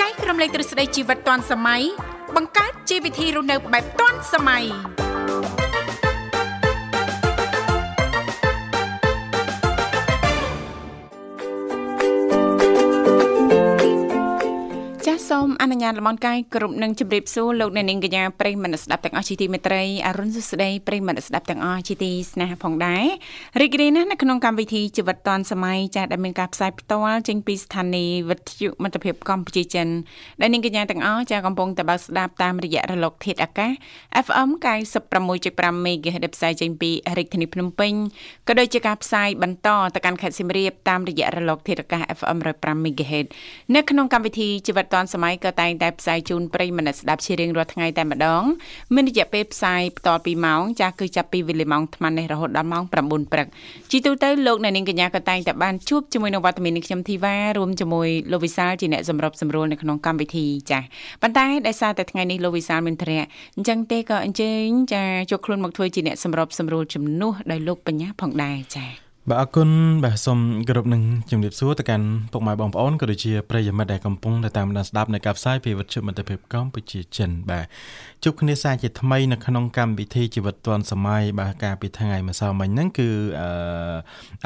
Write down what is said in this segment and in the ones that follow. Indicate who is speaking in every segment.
Speaker 1: នៃទ្រឹស្ដីជីវិតទាន់សម័យបង្កើតជីវវិធីរស់នៅបែបទាន់សម័យចាសសូមអនុញ្ញាតលំអរកាយគ្រប់នឹងជម្រាបសួរលោកអ្នកនាងកញ្ញាប្រិយមិត្តអ្នកស្ដាប់ទាំងអស់ជាទីមេត្រីអរុនសុស្ដីប្រិយមិត្តអ្នកស្ដាប់ទាំងអស់ជាទីស្នេហាផងដែររីករាយណាស់នៅក្នុងកម្មវិធីជីវិតឌွန်សម័យចាសដែលមានការផ្សាយផ្ទាល់ចេញពីស្ថានីយ៍វិទ្យុមិត្តភាពកម្ពុជាចិនដែលនាងកញ្ញាទាំងអស់ចាសកំពុងតែបើកស្ដាប់តាមរយៈរលកធាតុអាកាស FM 96.5 MHz ដែលផ្សាយចេញពីរាជធានីភ្នំពេញក៏ដូចជាការផ្សាយបន្តទៅកាន់ខេត្តសៀមរាបតាមរយៈរលកធាតុអាកាស FM 105 MHz នៅក្នុងកម្មវិធីជីវិតឌွန်សម័យក៏តែងតែផ្សាយជូនប្រិយមិត្តអ្នកស្ដាប់ជារៀងរាល់ថ្ងៃតែម្ដងមានរយៈពេលផ្សាយបន្តពីម៉ោងចាស់គឺចាប់ពីវេលាម៉ោង8:00នេះរហូតដល់ម៉ោង9:00ព្រឹកជីទូទៅលោកអ្នកនាងកញ្ញាក៏តែងតែបានជួបជាមួយនឹងវត្តមាននេះខ្ញុំធីវ៉ារួមជាមួយលោកវិសាលជាអ្នកសម្របសម្រួលនៅក្នុងកម្មវិធីចាស់ប៉ុន្តែដោយសារតែថ្ងៃនេះលោកវិសាលមានធរៈអញ្ចឹងទេក៏អញ្ជើញចាជួបខ្លួនមកធ្វើជាអ្នកសម្របសម្រួលជំនួសដោយលោកបញ្ញាផងដែរចា
Speaker 2: បាទអរគុណបាទសូមគោរពនឹងជំរាបសួរទៅកាន់ពុកម៉ែបងប្អូនក៏ដូចជាប្រិយមិត្តដែលកំពុងតែតាមដានស្ដាប់នៅការផ្សាយពីវិទ្យុមិត្តភាពកម្ពុជាចិនបាទជួបគ្នាសារជាថ្មីនៅក្នុងកម្មវិធីជីវិតឌွန်សម័យបាទកាលពីថ្ងៃម្សិលមិញហ្នឹងគឺអឺ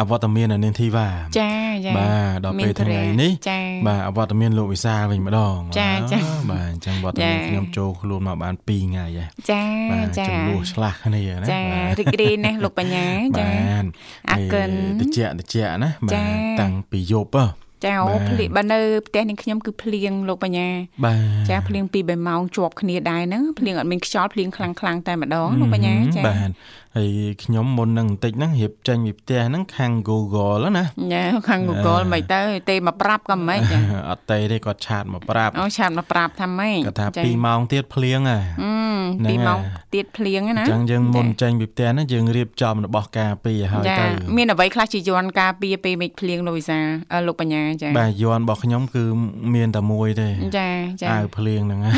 Speaker 2: អវត្តមាននៅនាងធីវ៉ា
Speaker 1: ចាចា
Speaker 2: បាទដល់ពេលថ្ងៃនេះ
Speaker 1: ចា
Speaker 2: បាទអវត្តមានលោកវិសាលវិញម្ដង
Speaker 1: ចាចា
Speaker 2: អឺបាទអញ្ចឹងវត្តមា
Speaker 1: ចា
Speaker 2: នខ្ញុំចូលខ្លួនមកបាន2ថ្ងៃហើយ
Speaker 1: ចា
Speaker 2: បាទ
Speaker 1: ចា
Speaker 2: ចំនួនឆ្លាស់គ្នាណា
Speaker 1: ចា
Speaker 2: បាទ
Speaker 1: រីករាយណាស់លោកបញ្ញា
Speaker 2: បា
Speaker 1: ចា
Speaker 2: ន
Speaker 1: អរគុណ
Speaker 2: តិចតិចណាបា
Speaker 1: ចា៎
Speaker 2: នតាំងពីយប់ហ៎
Speaker 1: ចាអូភ្លៀងបើនៅផ្ទះនេះខ្ញុំគឺភ្លៀងលោកបញ្ញា
Speaker 2: បាទ
Speaker 1: ចាភ្លៀងពីរបីម៉ោងជាប់គ្នាដែរហ្នឹងភ្លៀងអត់មានខ្យល់ភ្លៀងខ្លាំងខ្លាំងៗតែម្ដងលោកបញ្ញាចា
Speaker 2: បាទហើយខ្ញុំមុននឹងបន្តិចហ្នឹងរៀបចេញពីផ្ទះហ្នឹងខាង Google ហ្នឹងណា
Speaker 1: ញ៉ាខាង Google មិនទៅទេមកប្រាប់ក៏មិនចា
Speaker 2: អត់ទេទេគាត់ឆាតមកប្រាប់
Speaker 1: អូឆាតមកប្រាប់ថាម៉េច
Speaker 2: គាត់ថា2ម៉ោងទៀតភ្លៀងហ៎
Speaker 1: ពីរ
Speaker 2: ហ្នឹងហើយ
Speaker 1: ម៉ោងទៀតភ្លៀង
Speaker 2: អ
Speaker 1: ណា
Speaker 2: ញ្ចឹងយើងមុនចេញពីផ្ទះហ្នឹងយើងរៀបចំរបស់ការពីរឲ្យ
Speaker 1: ចា
Speaker 2: ទៅ
Speaker 1: មានអ្វីខ្លះជាយន្តការពារពេលមេឃភ្លៀងលោកវិសាលអឺលោកបញ្ញាចា
Speaker 2: បាទយន់របស់ខ្ញុំគឺមានតែមួយទេ
Speaker 1: ចាចា
Speaker 2: អាវភ្លៀង ហ្នឹងហ៎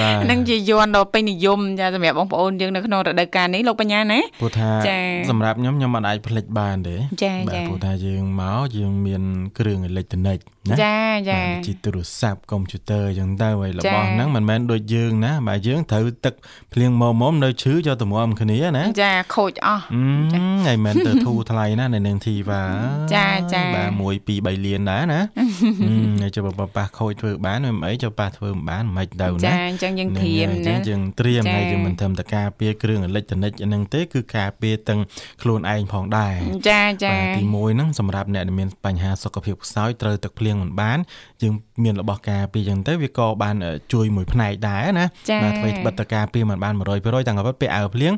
Speaker 2: បាទ
Speaker 1: នឹងជាយន្តដ៏ពេញនិយមចាសម្រាប់បងប្អូនយើងនៅក្នុងរដូវកាលនេះលោកបញ្ញាណា
Speaker 2: ព្រោះថា
Speaker 1: ចា
Speaker 2: សម្រាប់ខ្ញុំខ្ញុំមិនអាចផ្លិចបានទេ
Speaker 1: ចា
Speaker 2: បាទ
Speaker 1: ចា
Speaker 2: ព្រោះថាយើងមកយើងមានគ្រឿងអេលិចត្រូនិកណា
Speaker 1: ចា
Speaker 2: បា
Speaker 1: ចា
Speaker 2: ទជាទូរស័ព្ទកុំព្យូទ័រអញ្ចឹងទៅហើយ
Speaker 1: ចា
Speaker 2: របស់ហ្នឹងមិនមែនដូចយើងណាបាទយើងត្រូវទឹកភ្លៀងមុំមុំនៅឈឺយកតម្រាំគ្នាណា
Speaker 1: ចាខូចអស់
Speaker 2: អឺហើយមិនទៅធូរថ្លៃណានៅនឹងធីវ៉ា
Speaker 1: ចាចា
Speaker 2: បាទ1 2 3លានដែរណា អឺហើយចូលបើប៉ះខូចធ្វើបានមិនអីចូលប៉ះធ្វើមិនបានមិនទៅណា
Speaker 1: ចាអញ្ចឹងយើង
Speaker 2: ហ្នឹង
Speaker 1: ធៀម
Speaker 2: ហើយ
Speaker 1: ណា
Speaker 2: អញ្ចឹងយើងត្រៀម
Speaker 1: ចា៎
Speaker 2: ហើយយើងមិនត្រឹមតែការពារគ្រឿងអេលិចត្រូនិកហ្នឹងទេគឺការពារទាំងខ្លួនឯងផងដែរ
Speaker 1: ចាចា
Speaker 2: បាទទី1ហ្នឹងសម្រាប់អ្នកដែលមានបញ្ហាសុខភាពខ្សោយត្រូវទឹកភ្លៀងមិនបានយើងមានរបស់ការពារយ៉ាងទៅវាក៏បានអឺជួយមួយផ្នែកដែរណា
Speaker 1: ចា
Speaker 2: បាទធ្វើបិទតការពារមិនបាន100%ទាំងពិតពាក់អាវភ្លៀង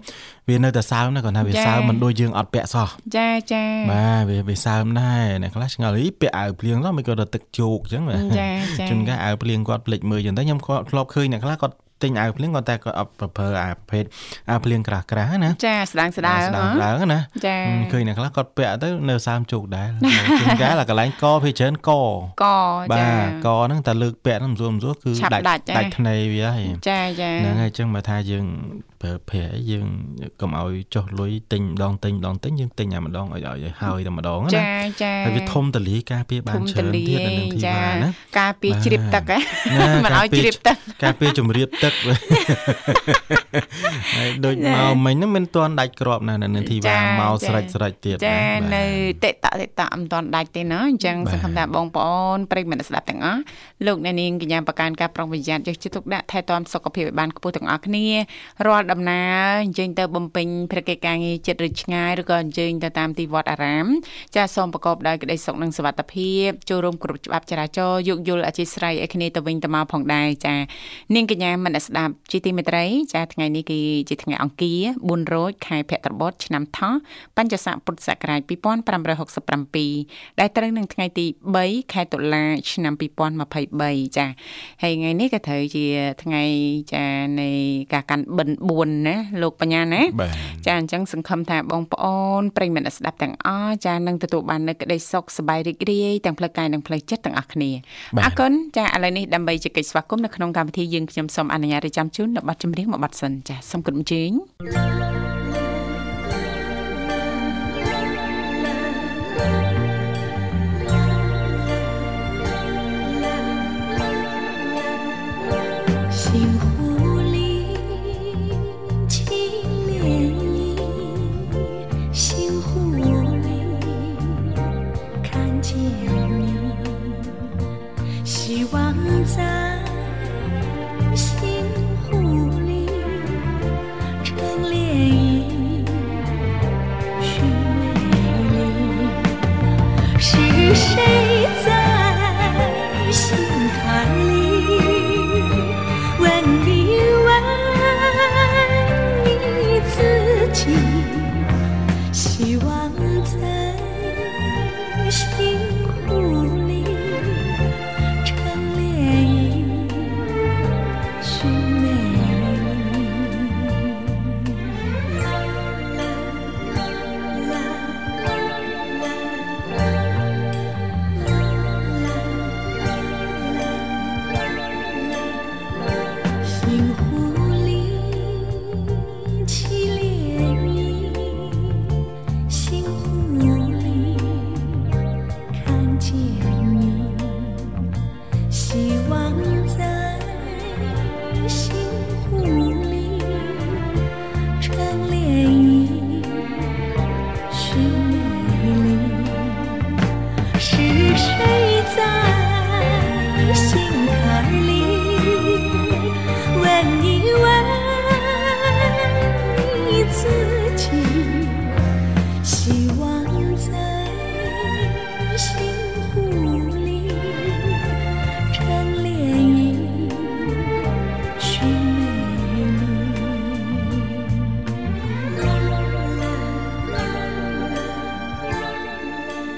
Speaker 2: វានៅតែសើមណាគាត់ថាវាសើមមិនដូចយើងអត់ពាក់សោះ
Speaker 1: ចាចា
Speaker 2: បាទវាវាសើមដែរអ្នកខ្លះឆ្ងល់អីពាក់អាវភ្លៀងឡើយមិនគាត់ទៅទឹកជោកអញ្ចឹងបាទ
Speaker 1: ចាចា
Speaker 2: ជួនកាលអាវភ្លៀងគាត់ភ្លេចមើលចឹងទៅខ្ញុំគាត់ធ្លាប់ឃើញអ្នកខ្លះគាត់ទិញអាវភ្លៀងគាត់តែគាត់អត់ប្រភើរអាប្រភេទអាវភ្លៀងក្រាស់ក្រាស់ណា
Speaker 1: ចាស្ដាងស្ដាង
Speaker 2: ស្ដា
Speaker 1: ហ៎
Speaker 2: ងឡើងណា
Speaker 1: ចា
Speaker 2: អឺឃើញអ្នកខ្លះគាត់ពាក់ទៅនៅសាមជោគដែរ ជួនកាលអាកន្លែងកភីច្រើនក
Speaker 1: ក
Speaker 2: បា
Speaker 1: ចា
Speaker 2: ទកហ្នឹងតែលើកពាក់ហ្នឹងមិនសួរមិនសួរគឺ
Speaker 1: ឆាប់ដាច់
Speaker 2: ដាច់ថ្នេរវាហើយ
Speaker 1: ចាចា
Speaker 2: ហ្នឹងហើយចឹងបើថាយើងប្រើប្រាស់អីយើងកុំឲ្យចុះលុយទិញម្ដងទិញម្ដងទិញយើងទិញតែម្ដងឲ្យឲ្យឲ្យហើយតែម្ដងណា
Speaker 1: ចាចា
Speaker 2: ហើយវាធំតលីការពារបានច្រើនទៀតនៅនឹងទី
Speaker 1: ចា
Speaker 2: បាន ណា
Speaker 1: ការពារ
Speaker 2: បាទ
Speaker 1: ជ្រាបទឹក ហ៎
Speaker 2: ណា
Speaker 1: មិនឲ្យ
Speaker 2: ការពារ
Speaker 1: ជ្រាបទឹក
Speaker 2: ការពារជំរាបទឹក ហើយដូច
Speaker 1: ចា៎
Speaker 2: មកមិញហ្នឹងមិនទាន់ដាច់ក្របណាស់នៅនឹងធីវ៉ា
Speaker 1: ចា៎
Speaker 2: មក
Speaker 1: ចា៎
Speaker 2: ស្រេចស្រេចទៀត
Speaker 1: ចា
Speaker 2: បាទ
Speaker 1: នៅតិតតិតមិនតាន់ដាច់ទេណាអញ្ចឹង
Speaker 2: បាទ
Speaker 1: សង្ឃឹមថាបងប្អូនប្រិយមិត្តអ្នកស្ដាប់ទាំងអស់លោកអ្នកនាងកញ្ញាប្រកាន់ការប្រុងប្រយ័ត្នយកចិត្តទុកដាក់ថែទាំសុខភាពឲ្យបានខ្ពស់ទាំងអស់គ្នារាល់ដំណើរអញ្ជើញទៅបំពេញព្រឹត្តិការណ៍ងារចិត្តឬឆ្ងាយឬក៏អញ្ជើញទៅតាមទីវត្តអារាម ចាសសូមប្រកបដោយក្តីសុខនិងសុវត្ថិភាពចូលរួមគ្រប់ច្បាប់ចរាចរណ៍យោគយល់អធិស្ស្រ័យឲ្យគ្នាទៅវិញទៅមកផងដែរចានាងកញ្ញាមិនអ្នកស្ដាប់ជាទីមេត្រីចាថ្ងៃនេះគឺជាថ្ងៃអង្គារ4រោចខែភក្ត្របុត្រឆ្នាំថោះបัญចស័កពុទ្ធសករាជ2567ដែលត្រូវនឹងថ្ងៃទី3ខែតុលាឆ្នាំ2023ចាហើយថ្ងៃនេះក៏ត្រូវជាថ្ងៃចានៃការកាន់បិណ្ឌ4ណាលោកបញ្ញាណា
Speaker 2: បាទ
Speaker 1: ចាអញ្ចឹងសង្ឃឹមថាបងប្អូនប្រិយមិត្តអ្នកស្ដាប់ទាំងអស់ចានឹងទទួលបាននូវក្តីសុខសប្បាយរីករាយទាំងផ្លូវកាយនិងផ្លូវចិត្តទាំងអស់គ្នាអរគុណចាឥឡូវនេះដើម្បីជែកស្វាគមន៍នៅក្នុងកម្មវិធីយើងខ្ញុំសូមអនុញ្ញាតរៀបចំជូននៅប័ណ្ណចម្រៀងមួយប័ណ្ណសិនចាសូមគោរពអញ្ជើញ
Speaker 2: ប
Speaker 3: 希望在心湖里成涟漪，寻美丽。心湖里起涟漪，心湖里看见你，希望在心湖里成涟漪，寻美丽。是谁在心坎里问一问你自己？希望在心湖里成涟漪，寻美丽。啦啦啦啦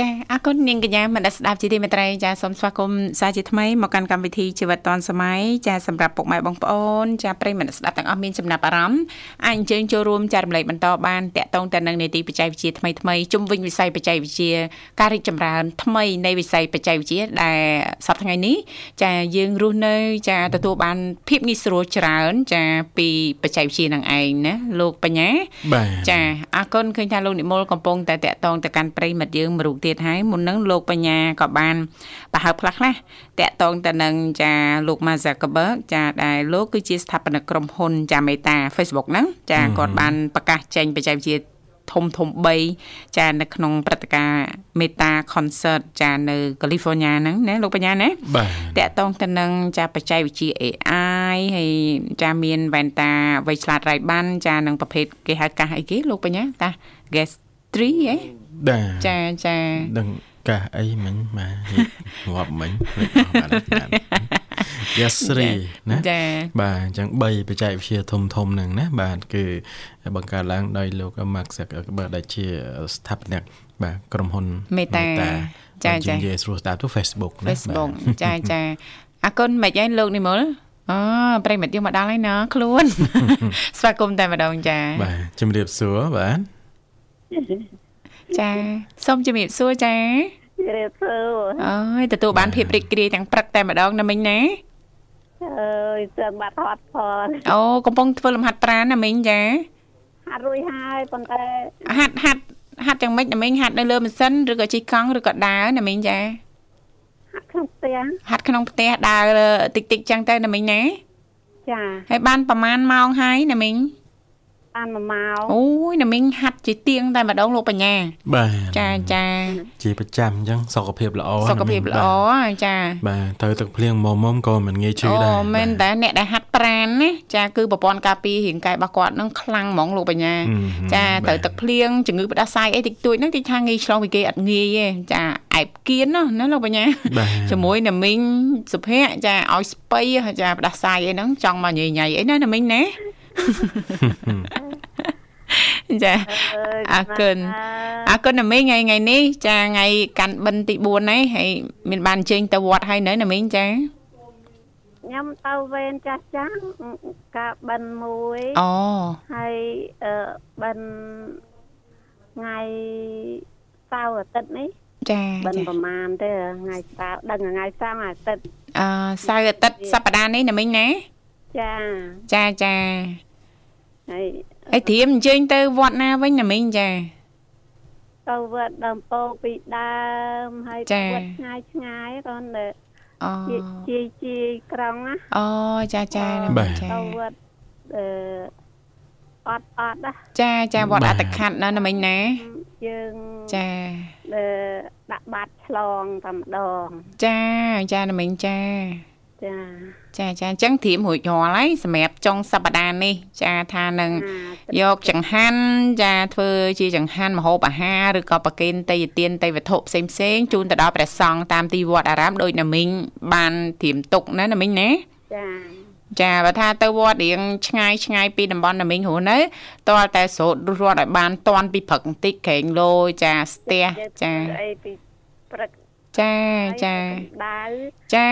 Speaker 1: ចាអរគុណនាងកញ្ញាមនស្សស្ដាប់ជាទីមេត្រីចាសូមស្វាគមន៍សាជាថ្មីមកកាន់កម្មវិធីជីវិតឌွန်សម័យចាសម្រាប់ពុកម៉ែបងប្អូនចាប្រិយមិត្តអ្នកស្ដាប់ទាំងអស់មានចំណាប់អារម្មណ៍អាចអញ្ជើញចូលរួមចារំលែកបន្តបានតាក់ទងទៅនឹងនីតិបច្ចេកវិទ្យាថ្មីថ្មីជុំវិញវិស័យបច្ចេកវិទ្យាការរីកចម្រើនថ្មីនៃវិស័យបច្ចេកវិទ្យាដែលសប្តាហ៍ថ្ងៃនេះចាយើងរស់នៅចាទទួលបានភាពងាយស្រួលច្រើនចាពីបច្ចេកវិទ្យានឹងឯងណាលោកបញ្ញា
Speaker 2: បាទ
Speaker 1: ចាអរគុណឃើញថាលោកនិមលកំពុងតែតាក់ទងទៅកាន់ប្រិមិត្តយើងមួយរូបទៀតហើយមុនហ្នឹងលោកបញ្ញាក៏បានបើហើបខ្លះខ្លះតាក់ទងទៅនឹងចាលោក Mark Zuckerberg ចាដែលលោកគឺជាស្ថាបនិកក្រុមហ៊ុនចាមេតា Facebook ហ្នឹងចា
Speaker 2: ហឹម
Speaker 1: គាត់បានប្រកាសចេញបច្ចេកវិទ្យាធំធំ3ចានៅក្នុងព្រឹត្តិការណ៍ Meta Concert ចានៅ California ហ្នឹងណាលោកបញ្ញាណា
Speaker 2: បាទ
Speaker 1: តាក់ទងទៅនឹងចាបច្ចេកវិទ្យា AI ហើយចាមានវ៉ែនតាវៃឆ្លាតរៃបាន ចានឹងប្រភេទគេហៅកាសអីគេលោកបញ្ញាកាស Gas 3ហ៎
Speaker 2: បាទ
Speaker 1: ចាចា
Speaker 2: ដឹងកាសអីមិញ បាទងាប់មិញមិនអស់បាទ Yes 3ណា
Speaker 1: ចា
Speaker 2: បាទអញ្ចឹង3បច្ចេកវិទ្យាធំធំហ្នឹងណាបាទគឺបង្កើតឡើងដោយលោក Mark Zuckerberg ដែលជាស្ថាបនិកបាទក្រុមហ៊ុន
Speaker 1: Meta
Speaker 2: Meta
Speaker 1: ចា
Speaker 2: បាទ
Speaker 1: ចា
Speaker 2: និយាយស្រួលស្ដាប់ទៅ Facebook ណា
Speaker 1: Facebook ចាចាអរគុណមិនអីលោកនិមលអូប្រិមិត្តយើងមកដល់ហើយណាខ្លួន ស្វាគមន៍តែម្ដងចា
Speaker 2: បាទបាទជំរាបសួរបាទ
Speaker 1: ចាសូមជំរាបសួរចា
Speaker 4: ជ្រាបសួរ
Speaker 1: អើយទទួលបានភាពរីករាយទាំងព្រឹកតែម្ដងណាមិញណា
Speaker 4: អើយសឹងបាត់ហត់ផង
Speaker 1: អូកំពុងធ្វើលំហាត់ប្រាណណាមិញចា
Speaker 4: ហាត់រួចហើយប៉ុន្តែ
Speaker 1: ហាត់ហាត់ហាត់យ៉ាងម៉េចណាមីងហាត់នៅលើម៉ាស៊ីនឬក៏ជិះកង់ឬក៏ដើរណាមីងចា
Speaker 4: ហាត់ក្នុងផ្ទះ
Speaker 1: ហាត់ក្នុងផ្ទះដើរតិចតិចចឹងទៅណាមីងណា
Speaker 4: ចា
Speaker 1: ហើយបានប្រហែលម៉ោងហើយណាមីង
Speaker 4: បានមួយម៉ោង
Speaker 1: អូយណាមីងហាត់ជាទៀងតែម្ដងលោកបញ្ញា
Speaker 2: បាទ
Speaker 1: ចាចា
Speaker 2: ជាប្រចាំអញ្ចឹងសុខភាពល្អ
Speaker 1: សុខភាព
Speaker 2: ណា
Speaker 1: ល្អចា
Speaker 2: បាទទៅទឹកភ្លៀងមុំមុំក៏មិនងាយឈឺដែរ
Speaker 1: អូមែន
Speaker 2: បាទ
Speaker 1: តែអ្នកដែលហាត់ប្រាណណាចាគឺប្រព័ន្ធការពាររាងកាយរបស់គាត់នឹងខ្លាំងហ្មងលោកបញ្ញា
Speaker 2: ហឹម
Speaker 1: ចា
Speaker 2: បាទ
Speaker 1: ត្រូវទឹកភ្លៀងជំងឺផ្ដាសាយអីតិចតួចហ្នឹងទីថាងាយឆ្លងពីគេអត់ងាយទេចាអែបគៀនណោះណាលោកបញ្ញា
Speaker 2: បាទ
Speaker 1: ជាមួយណាមីងសុភ័ក្រចាឲ្យស្បៃចាផ្ដាសាយអីហ្នឹងចង់មកញ៉ៃញ៉ៃអីណាណាមីងណា ចា អរគុណ អរគុណណាមីងថ្ងៃថ្ងៃនេះចាថ្ងៃកាន់បិណ្ឌទី4នេះហើយមានបានអញ្ជើញទៅវត្តហើយនៅណាមីងចា
Speaker 4: ខ្ញុំទៅវេនចាស់ចាស់ការបិណ្ឌមួយ
Speaker 1: អូ
Speaker 4: ហើយអឺបិណ្ឌថ្ងៃសៅរ៍អាទិត្យនេះ
Speaker 1: ចា
Speaker 4: បិណ្ឌ
Speaker 1: ចា
Speaker 4: ប្រមាណទេថ្ងៃសៅរ៍ដឹងថ្ងៃសៅរ៍អាទិត្យ
Speaker 1: អឺសៅរ៍អាទិត្យសប្តាហ៍នេះណាមីងណា
Speaker 4: ចា
Speaker 1: ចាចា
Speaker 4: ហើយ
Speaker 1: ហើយត្រៀមអញ្ជើញទៅវត្តណាវិញណាមីងចា
Speaker 4: ទៅវត្តដើមពោកពីដើមហើយ
Speaker 1: ចា
Speaker 4: វត្តឆ្ងាយឆ្ងាយៗគាត់ទៅ
Speaker 1: អូ
Speaker 4: ជាជាក្រុងណា
Speaker 1: អូចាចាណា
Speaker 2: បា
Speaker 1: មី
Speaker 2: ទ
Speaker 1: ងចា
Speaker 4: ទៅវត្តអឺអត់អត់ណា
Speaker 1: ចាចាវត្ត
Speaker 2: បា
Speaker 1: អ
Speaker 2: ទ
Speaker 1: ត្តខាត់ណាណាមីងណា
Speaker 4: យើង
Speaker 1: ចា
Speaker 4: អឺដាក់បាតឆ្លងតែម្ដង
Speaker 1: ចាចាណាមីងចា
Speaker 4: ច ចា
Speaker 1: ចាចាអញ្ចឹងធៀមរួចរាល់ហើយសម្រាប់ចុងសប្តាហ៍នេះចាថានឹងយកចង្ហាន់ចាធ្វើជាចង្ហាន់ម្ហូបអាហារឬក៏ប្រគេនទេយ្យទានទេយ្យវត្ថុផ្សេងផ្សេងជូនទៅដល់ព្រះសង្ឃតាមទីវត្តអារាមដោយណាមីងបានធៀមទុកណាណាមីងណា
Speaker 4: ចា
Speaker 1: ចាបើថាទៅវត្តរៀងឆ្ងាយឆ្ងាយពីតំបន់ណាមីងហ្នឹងនៅតលតែស្រោតរត់ឲ្យបានតន់ពីព្រឹកបន្តិចក្រែងលោចាស្ទះ
Speaker 4: យើង
Speaker 1: ចា
Speaker 4: ធ្វើអីពីព្រឹក
Speaker 1: ចា
Speaker 4: ហើយ
Speaker 1: ចា
Speaker 4: កម្ដៅ
Speaker 1: ចា